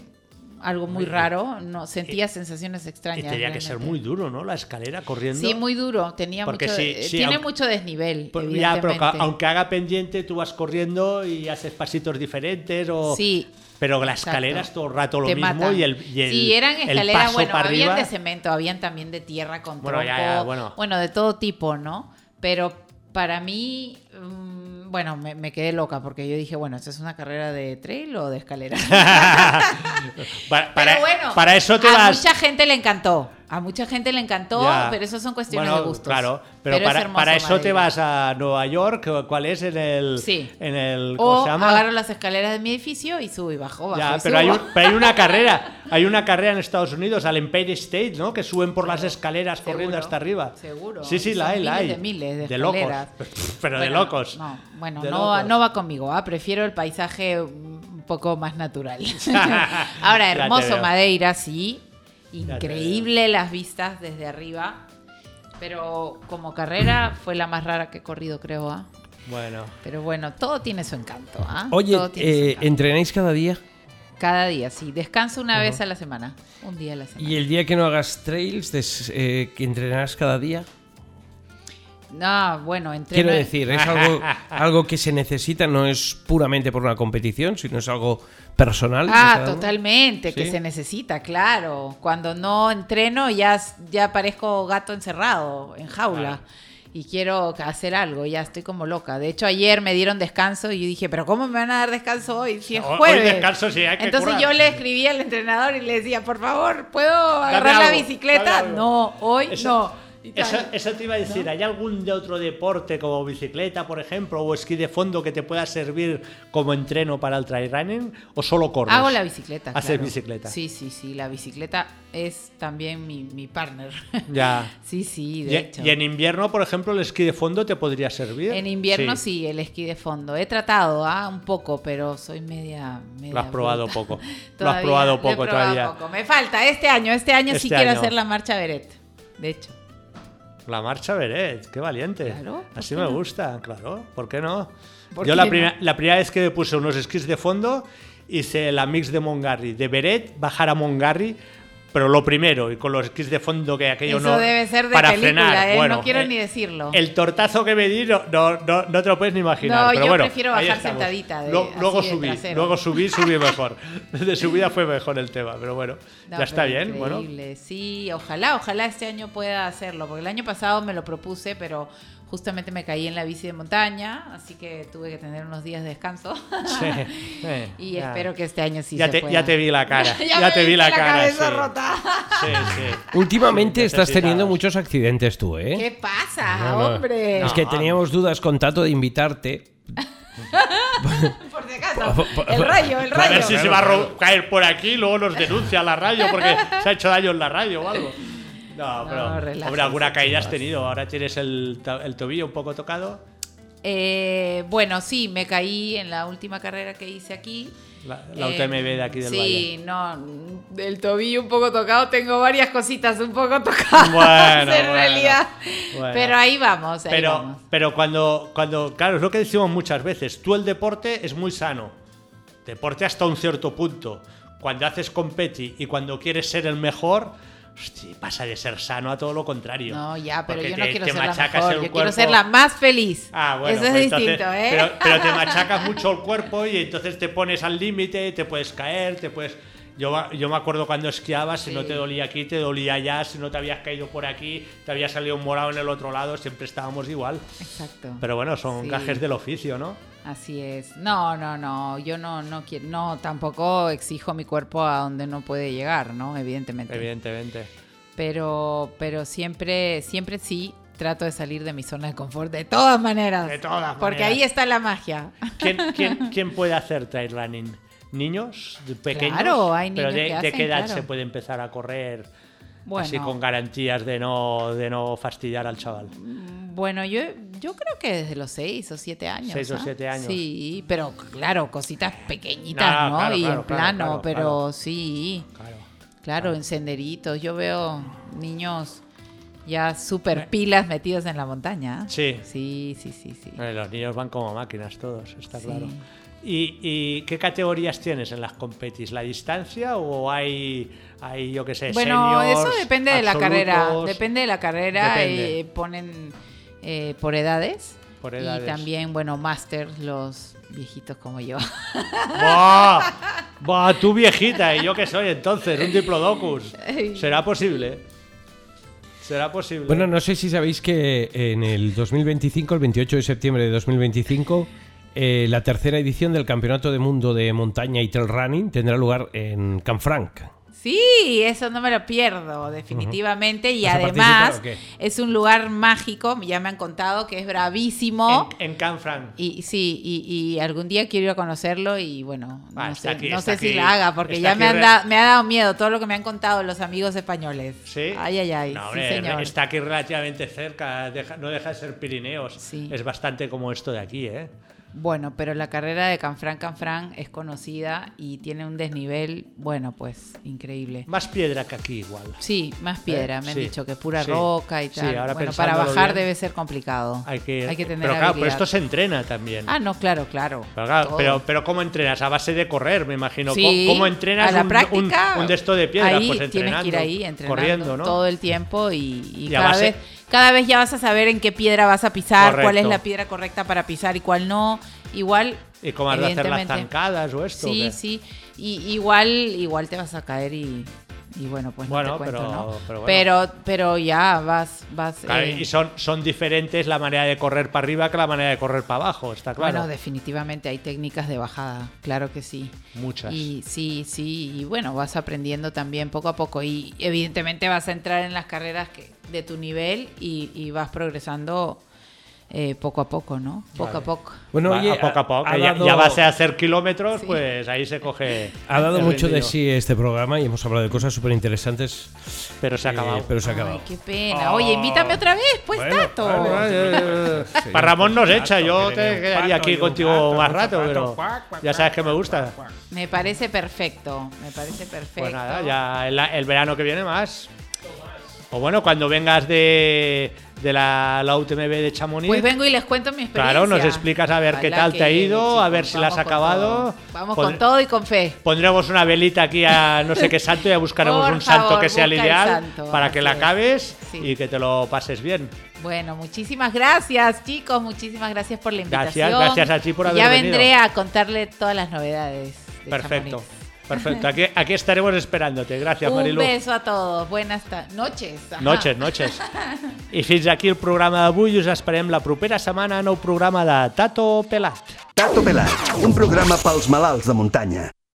Speaker 4: algo muy raro, no sentía sensaciones
Speaker 2: Y
Speaker 4: extrañas.
Speaker 2: tenía que ser
Speaker 4: realmente.
Speaker 2: muy duro, ¿no? La escalera corriendo.
Speaker 4: Sí, muy duro, tenía
Speaker 2: Porque
Speaker 4: mucho,
Speaker 2: sí,
Speaker 4: eh,
Speaker 2: sí,
Speaker 4: tiene
Speaker 2: aunque-
Speaker 4: mucho desnivel.
Speaker 2: Pues ya, pero ca-
Speaker 4: evidentemente.
Speaker 2: aunque haga pendiente, tú vas corriendo y haces pasitos diferentes o...
Speaker 4: Sí.
Speaker 2: Pero la escalera
Speaker 4: Exacto.
Speaker 2: es todo el rato lo
Speaker 4: Te
Speaker 2: mismo
Speaker 4: matan.
Speaker 2: y el, y el-
Speaker 4: sí, eran
Speaker 2: el
Speaker 4: escaleras,
Speaker 2: paso
Speaker 4: bueno,
Speaker 2: para
Speaker 4: habían
Speaker 2: arriba.
Speaker 4: de cemento, habían también de tierra con
Speaker 2: Bueno, ya,
Speaker 4: tronco,
Speaker 2: ya, bueno.
Speaker 4: de todo tipo, ¿no? Pero para mí mm, bueno, me, me quedé loca porque yo dije, bueno, ¿esto es una carrera de trail o de escalera?
Speaker 2: para,
Speaker 4: Pero
Speaker 2: para-
Speaker 4: bueno,
Speaker 2: para eso te
Speaker 4: a
Speaker 2: vas...
Speaker 4: mucha gente le encantó. A mucha gente le encantó,
Speaker 2: Ya.
Speaker 4: pero eso son cuestiones
Speaker 2: Bueno,
Speaker 4: de gustos.
Speaker 2: Claro, pero,
Speaker 4: es
Speaker 2: para,
Speaker 4: hermoso
Speaker 2: para eso te
Speaker 4: Madrid.
Speaker 2: vas a Nueva York, o ¿cuál es? En el.
Speaker 4: Sí.
Speaker 2: En el ¿cómo
Speaker 4: O
Speaker 2: se llama?
Speaker 4: agarro las escaleras de mi edificio y subo y bajo, bajo
Speaker 2: Ya,
Speaker 4: y
Speaker 2: pero, hay
Speaker 4: subo.
Speaker 2: un- pero hay una carrera, hay una carrera en Estados Unidos, al Empire State, ¿no? Que suben por las escaleras corriendo
Speaker 4: Seguro,
Speaker 2: hasta arriba.
Speaker 4: seguro.
Speaker 2: Sí, sí, la
Speaker 4: Son
Speaker 2: hay, la
Speaker 4: miles
Speaker 2: hay.
Speaker 4: de miles de
Speaker 2: locos.
Speaker 4: escaleras.
Speaker 2: Pero de
Speaker 4: Bueno,
Speaker 2: locos.
Speaker 4: No, bueno,
Speaker 2: De
Speaker 4: no,
Speaker 2: locos.
Speaker 4: no va conmigo. ah, Prefiero el paisaje un poco más natural. Ahora,
Speaker 2: Ya te
Speaker 4: hermoso
Speaker 2: veo.
Speaker 4: Madeira, sí.
Speaker 2: te
Speaker 4: Increíble las vistas desde arriba. Pero como carrera fue la más rara que he corrido, creo. ah.
Speaker 2: Bueno.
Speaker 4: Pero bueno, todo tiene su encanto. ah.
Speaker 3: Oye,
Speaker 4: Todo tiene su
Speaker 3: eh,
Speaker 4: encanto.
Speaker 3: ¿entrenáis cada día?
Speaker 4: Cada día, sí. Descanso una vez a la semana. Un día a la semana.
Speaker 3: ¿Y el día que no hagas trails, des- eh, que entrenarás cada día?
Speaker 4: No, bueno, entreno.
Speaker 3: Quiero decir, es algo, algo que se necesita, no es puramente por una competición, sino es algo personal. de
Speaker 4: Ah,
Speaker 3: cada uno.
Speaker 4: totalmente, que
Speaker 3: Sí.
Speaker 4: se necesita, claro. Cuando no entreno ya, ya parezco gato encerrado en jaula y quiero hacer algo, ya estoy como loca. De hecho, ayer me dieron descanso y yo dije, pero ¿cómo me van a dar descanso hoy si es
Speaker 2: Hoy- hoy
Speaker 4: jueves?
Speaker 2: descanso sí, hay que
Speaker 4: Entonces
Speaker 2: currar.
Speaker 4: yo le escribí al entrenador y le decía, por favor, ¿puedo agarrar la
Speaker 2: algo,
Speaker 4: bicicleta?
Speaker 2: dame algo.
Speaker 4: No, hoy
Speaker 2: Eso-
Speaker 4: no. Y tal.
Speaker 2: Eso, eso te iba a decir, ¿hay algún de otro deporte como bicicleta, por ejemplo, o esquí de fondo que te pueda servir como entreno para el trail running? ¿O solo corres?
Speaker 4: Hago la bicicleta.
Speaker 2: Haces
Speaker 4: claro.
Speaker 2: bicicleta.
Speaker 4: Sí, sí, sí. La bicicleta es también mi, mi partner.
Speaker 2: Ya.
Speaker 4: Sí, sí, de
Speaker 2: Y,
Speaker 4: hecho.
Speaker 2: y en invierno, por ejemplo, el esquí de fondo te podría servir.
Speaker 4: En invierno sí. el esquí de fondo. He tratado ah, un poco, pero soy media. media
Speaker 2: Lo has probado
Speaker 4: bruta.
Speaker 2: poco. Lo has
Speaker 4: Todavía,
Speaker 2: probado
Speaker 4: lo he
Speaker 2: poco
Speaker 4: probado
Speaker 2: todavía.
Speaker 4: poco. Me falta este año. Este año sí
Speaker 2: Este
Speaker 4: quiero
Speaker 2: año.
Speaker 4: hacer la marcha Beret. De hecho,
Speaker 2: La marcha Beret, qué valiente.
Speaker 4: Claro, ¿por
Speaker 2: Así
Speaker 4: qué
Speaker 2: me
Speaker 4: no?
Speaker 2: gusta, claro. ¿Por qué no?
Speaker 4: ¿Por
Speaker 2: Yo
Speaker 4: qué
Speaker 2: la,
Speaker 4: no?
Speaker 2: Primera, la primera vez que me puse unos esquís de fondo hice la mix de Mongarry, de Beret, bajar a Mongarry. Pero lo primero, y con los esquís de fondo que aquello
Speaker 4: Eso
Speaker 2: no.
Speaker 4: debe ser de
Speaker 2: para
Speaker 4: película,
Speaker 2: frenar.
Speaker 4: ¿eh? No
Speaker 2: Bueno,
Speaker 4: quiero
Speaker 2: eh,
Speaker 4: ni decirlo.
Speaker 2: El tortazo que me di no, no, no- no te lo puedes ni imaginar.
Speaker 4: No,
Speaker 2: pero
Speaker 4: yo
Speaker 2: bueno,
Speaker 4: prefiero
Speaker 2: ahí
Speaker 4: bajar
Speaker 2: estamos.
Speaker 4: sentadita de-
Speaker 2: Lo-
Speaker 4: así
Speaker 2: luego
Speaker 4: de
Speaker 2: subí,
Speaker 4: trasero.
Speaker 2: luego subí, subí mejor. De subida fue mejor el tema, pero bueno,
Speaker 4: No,
Speaker 2: ya está
Speaker 4: pero
Speaker 2: bien. Bueno,
Speaker 4: increíble. Sí, ojalá, ojalá este año pueda hacerlo, porque el año pasado me lo propuse, pero justamente me caí en la bici de montaña, así que tuve que tener unos días de descanso.
Speaker 2: Sí, eh,
Speaker 4: y
Speaker 2: ya.
Speaker 4: espero que este año sí
Speaker 2: ya
Speaker 4: se
Speaker 2: te,
Speaker 4: pueda.
Speaker 2: ya te vi la cara. ya
Speaker 4: me
Speaker 2: te vi
Speaker 4: viste
Speaker 2: la, cara.
Speaker 4: cabeza
Speaker 2: sí.
Speaker 4: rota.
Speaker 2: Sí, sí.
Speaker 3: Últimamente
Speaker 2: Sí,
Speaker 3: estás teniendo
Speaker 2: necesitabas.
Speaker 3: muchos accidentes tú, ¿eh?
Speaker 4: ¿Qué pasa,
Speaker 3: No, no.
Speaker 4: hombre?
Speaker 3: Es que teníamos dudas con Tato de invitarte.
Speaker 4: Por si acaso. El rayo, el
Speaker 2: A
Speaker 4: rayo.
Speaker 2: ver si se va a ro- caer por aquí, luego nos denuncia la radio porque se ha hecho daño en la radio o algo. No,
Speaker 4: No,
Speaker 2: pero hombre,
Speaker 4: relájense,
Speaker 2: alguna caída has tenido. Ahora tienes el, to- el tobillo un poco tocado.
Speaker 4: Eh, bueno, sí, me caí en la última carrera que hice aquí.
Speaker 2: La, la
Speaker 4: Eh,
Speaker 2: UTMB de aquí del Valle.
Speaker 4: Sí, no, del tobillo un poco tocado, tengo varias cositas un poco tocadas
Speaker 2: Bueno,
Speaker 4: en
Speaker 2: bueno,
Speaker 4: realidad.
Speaker 2: bueno.
Speaker 4: Pero ahí vamos, ahí
Speaker 2: Pero,
Speaker 4: vamos.
Speaker 2: pero cuando, cuando, claro, es lo que decimos muchas veces, tú el deporte es muy sano, deporte hasta un cierto punto. Cuando haces competi y cuando quieres ser el mejor, hosti, pasa de ser sano a todo lo contrario.
Speaker 4: No, ya, pero
Speaker 2: Porque
Speaker 4: yo no
Speaker 2: te-
Speaker 4: quiero
Speaker 2: te
Speaker 4: ser la
Speaker 2: machacas
Speaker 4: mejor,
Speaker 2: el
Speaker 4: yo quiero
Speaker 2: cuerpo.
Speaker 4: ser la más feliz.
Speaker 2: Ah, bueno,
Speaker 4: Eso es
Speaker 2: pues entonces-
Speaker 4: distinto, ¿eh?
Speaker 2: Pero, pero te machacas mucho el cuerpo y entonces te pones al límite, te puedes caer, te puedes... Yo, ma- yo me acuerdo cuando esquiabas, si no te dolía aquí, te dolía allá, si no te habías caído por aquí, te había salido un morado en el otro lado, siempre estábamos igual.
Speaker 4: Exacto.
Speaker 2: Pero bueno, son
Speaker 4: Sí.
Speaker 2: gajes del oficio, ¿no?
Speaker 4: Así es. No, no, no. Yo no, no quiero. No, tampoco exijo mi cuerpo a donde no puede llegar, ¿no? Evidentemente.
Speaker 2: Evidentemente.
Speaker 4: Pero, pero siempre, siempre sí trato de salir de mi zona de confort de todas maneras.
Speaker 2: De todas
Speaker 4: Porque
Speaker 2: maneras.
Speaker 4: ahí está la magia.
Speaker 2: ¿Quién, quién, quién puede hacer trail running? ¿Niños? ¿De ¿Pequeños?
Speaker 4: Claro, hay
Speaker 2: Pero
Speaker 4: niños
Speaker 2: de,
Speaker 4: que
Speaker 2: ¿de
Speaker 4: hacen,
Speaker 2: qué edad
Speaker 4: claro.
Speaker 2: se puede empezar a correr
Speaker 4: Bueno.
Speaker 2: así con garantías de no, de no fastidiar al chaval?
Speaker 4: Bueno, yo, yo creo que desde los seis o siete años.
Speaker 2: Seis o
Speaker 4: ¿ah?
Speaker 2: siete años.
Speaker 4: Sí, pero claro, cositas pequeñitas,
Speaker 2: No,
Speaker 4: ¿no?
Speaker 2: claro,
Speaker 4: y
Speaker 2: claro,
Speaker 4: en
Speaker 2: claro,
Speaker 4: plano,
Speaker 2: claro,
Speaker 4: pero
Speaker 2: claro.
Speaker 4: sí.
Speaker 2: Claro.
Speaker 4: Claro, en senderitos. Yo veo niños ya super pilas metidos en la montaña. ¿eh?
Speaker 2: Sí.
Speaker 4: Sí, sí, sí, sí.
Speaker 2: Bueno, los niños van como máquinas todos, está
Speaker 4: Sí.
Speaker 2: claro. ¿Y, y qué categorías tienes en las competis? ¿La distancia o hay, hay yo qué sé,
Speaker 4: Bueno, eso
Speaker 2: seniors,
Speaker 4: depende de la carrera.
Speaker 2: absolutos?
Speaker 4: Depende de la carrera.
Speaker 2: Depende.
Speaker 4: eh, ponen eh, por edades.
Speaker 2: Por edades.
Speaker 4: Y también, bueno, masters, los viejitos como yo.
Speaker 2: ¡Buah! ¡Buah! Tú viejita, ¿y yo qué soy entonces? Un diplodocus. ¿Será posible? Serà possible.
Speaker 3: Bueno, no sé si sabéis que eh, en el 2025, el 28 de septiembre de 2025, eh, la tercera edición del Campeonato de Mundo de Montaña y Trail Running tendrá lugar en Canfranc.
Speaker 4: Sí, eso no me lo pierdo, definitivamente. Y
Speaker 3: ¿Vas a
Speaker 4: además
Speaker 3: participar o
Speaker 4: es un lugar mágico, ya me han contado que es bravísimo.
Speaker 2: En, en Can Franc.
Speaker 4: Y sí, y, y algún día quiero ir a conocerlo y bueno,
Speaker 2: Ah,
Speaker 4: no sé,
Speaker 2: está aquí,
Speaker 4: no
Speaker 2: está
Speaker 4: sé si
Speaker 2: aquí.
Speaker 4: la haga, porque
Speaker 2: Está
Speaker 4: ya me,
Speaker 2: aquí
Speaker 4: han
Speaker 2: re-
Speaker 4: da- me ha dado miedo todo lo que me han contado los amigos españoles.
Speaker 2: Sí.
Speaker 4: Ay, ay, ay.
Speaker 2: No,
Speaker 4: sí,
Speaker 2: hombre,
Speaker 4: señor.
Speaker 2: está aquí relativamente cerca, deja- no deja de ser Pirineos.
Speaker 4: Sí.
Speaker 2: Es bastante como esto de aquí, ¿eh?
Speaker 4: Bueno, pero la carrera de Canfrán Canfrán es conocida y tiene un desnivel, bueno, pues increíble.
Speaker 2: Más piedra que aquí igual.
Speaker 4: Sí, más piedra,
Speaker 2: ¿Eh?
Speaker 4: me han
Speaker 2: Sí,
Speaker 4: dicho que es pura
Speaker 2: sí,
Speaker 4: roca y
Speaker 2: sí,
Speaker 4: tal.
Speaker 2: ahora
Speaker 4: bueno, para
Speaker 2: pensándolo
Speaker 4: bajar
Speaker 2: bien,
Speaker 4: debe ser complicado.
Speaker 2: Hay que,
Speaker 4: tener
Speaker 2: pero claro, pero
Speaker 4: habilidad.
Speaker 2: esto se entrena también.
Speaker 4: Ah, no, claro, claro.
Speaker 2: Pero, claro,
Speaker 4: todo.
Speaker 2: pero, pero ¿cómo entrenas? A base de correr, me imagino.
Speaker 4: Sí,
Speaker 2: ¿Cómo, cómo entrenas
Speaker 4: a la
Speaker 2: un,
Speaker 4: práctica,
Speaker 2: un- un de esto de piedra?
Speaker 4: Ahí
Speaker 2: pues
Speaker 4: tienes
Speaker 2: entrenando,
Speaker 4: que ir ahí entrenando
Speaker 2: corriendo, ¿no?
Speaker 4: todo el tiempo y,
Speaker 2: Y
Speaker 4: y
Speaker 2: a
Speaker 4: cada,
Speaker 2: base-
Speaker 4: vez, cada vez ya vas a saber en qué piedra vas a pisar, cuál es
Speaker 2: Correcto.
Speaker 4: la piedra correcta para pisar y cuál no. Igual,
Speaker 2: Y cómo has de hacer las
Speaker 4: evidentemente.
Speaker 2: zancadas o esto.
Speaker 4: Sí,
Speaker 2: ¿o qué?
Speaker 4: sí. Y, igual, igual te vas a caer y, y bueno, pues
Speaker 2: Bueno,
Speaker 4: no te cuento,
Speaker 2: pero-
Speaker 4: ¿no?
Speaker 2: pero bueno.
Speaker 4: pero, pero ya vas, vas.
Speaker 2: Claro,
Speaker 4: eh,
Speaker 2: y son, son diferentes la manera de correr para arriba que la manera de correr para abajo, está claro.
Speaker 4: Bueno, definitivamente hay técnicas de bajada, claro que sí.
Speaker 2: Muchas.
Speaker 4: Y sí, sí, y bueno, vas aprendiendo también poco a poco y evidentemente vas a entrar en las carreras que, de tu nivel y, y vas progresando eh, poco a poco, ¿no? Poco a poco.
Speaker 3: Bueno,
Speaker 2: Va-
Speaker 3: oye,
Speaker 2: a poco a poco.
Speaker 3: ha
Speaker 2: ya,
Speaker 3: dado-
Speaker 2: ya vas a hacer kilómetros, pues ahí se coge.
Speaker 3: Ha dado
Speaker 2: el
Speaker 3: mucho de
Speaker 2: ritmo.
Speaker 3: sí este programa y hemos hablado de cosas súper interesantes.
Speaker 2: Pero se ha acabado.
Speaker 3: Eh,
Speaker 2: Ah.
Speaker 3: pero se ha acabado.
Speaker 4: Ay, qué pena. Oye, invítame otra vez, pues
Speaker 3: Bueno,
Speaker 4: Tato.
Speaker 3: vale, vale, vale. Sí,
Speaker 2: Para Ramón nos
Speaker 3: un
Speaker 2: echa,
Speaker 3: pato,
Speaker 2: yo
Speaker 3: que
Speaker 2: te
Speaker 3: tiene un
Speaker 2: quedaría
Speaker 3: pato y
Speaker 2: aquí
Speaker 3: un
Speaker 2: contigo
Speaker 3: pato,
Speaker 2: más
Speaker 3: un
Speaker 2: rato,
Speaker 3: zapato,
Speaker 2: pero
Speaker 3: cuac, cuac,
Speaker 2: ya sabes que me gusta.
Speaker 4: Me parece perfecto, me parece perfecto.
Speaker 2: Pues nada, ya el, el verano que viene más. O bueno, cuando vengas de, de la, la UTMB de Chamonix.
Speaker 4: Pues vengo y les cuento mi experiencia.
Speaker 2: Claro, nos explicas a ver qué tal te ha ido, a ver si la has
Speaker 4: vamos con
Speaker 2: acabado. Pues-
Speaker 4: todo. Vamos
Speaker 2: Podr-
Speaker 4: con todo y con fe.
Speaker 2: Pondremos una velita aquí a no sé qué santo, ya buscaremos
Speaker 4: Por
Speaker 2: un santo
Speaker 4: favor,
Speaker 2: que sea el
Speaker 4: busca el
Speaker 2: ideal
Speaker 4: santo,
Speaker 2: para que
Speaker 4: así
Speaker 2: la
Speaker 4: es.
Speaker 2: acabes
Speaker 4: Sí.
Speaker 2: y que te lo pases bien.
Speaker 4: Bueno, muchísimas gracias, chicos. Muchísimas gracias por la
Speaker 2: Gracias,
Speaker 4: invitación.
Speaker 2: gracias a ti por
Speaker 4: Y
Speaker 2: haber
Speaker 4: Ya
Speaker 2: venido.
Speaker 4: vendré a contarle todas las novedades. de
Speaker 2: Perfecto,
Speaker 4: Chamonix.
Speaker 2: perfecto. Aquí, aquí estaremos esperándote. Gracias,
Speaker 4: Un
Speaker 2: Marilu.
Speaker 4: beso a todos. Buenas ta- noches. Ajá.
Speaker 2: Noches, noches. I fins aquí el programa d'avui. Us esperem la propera setmana en nou programa de Tato Pelat.
Speaker 1: Tato Pelat, un programa pels malalts de muntanya.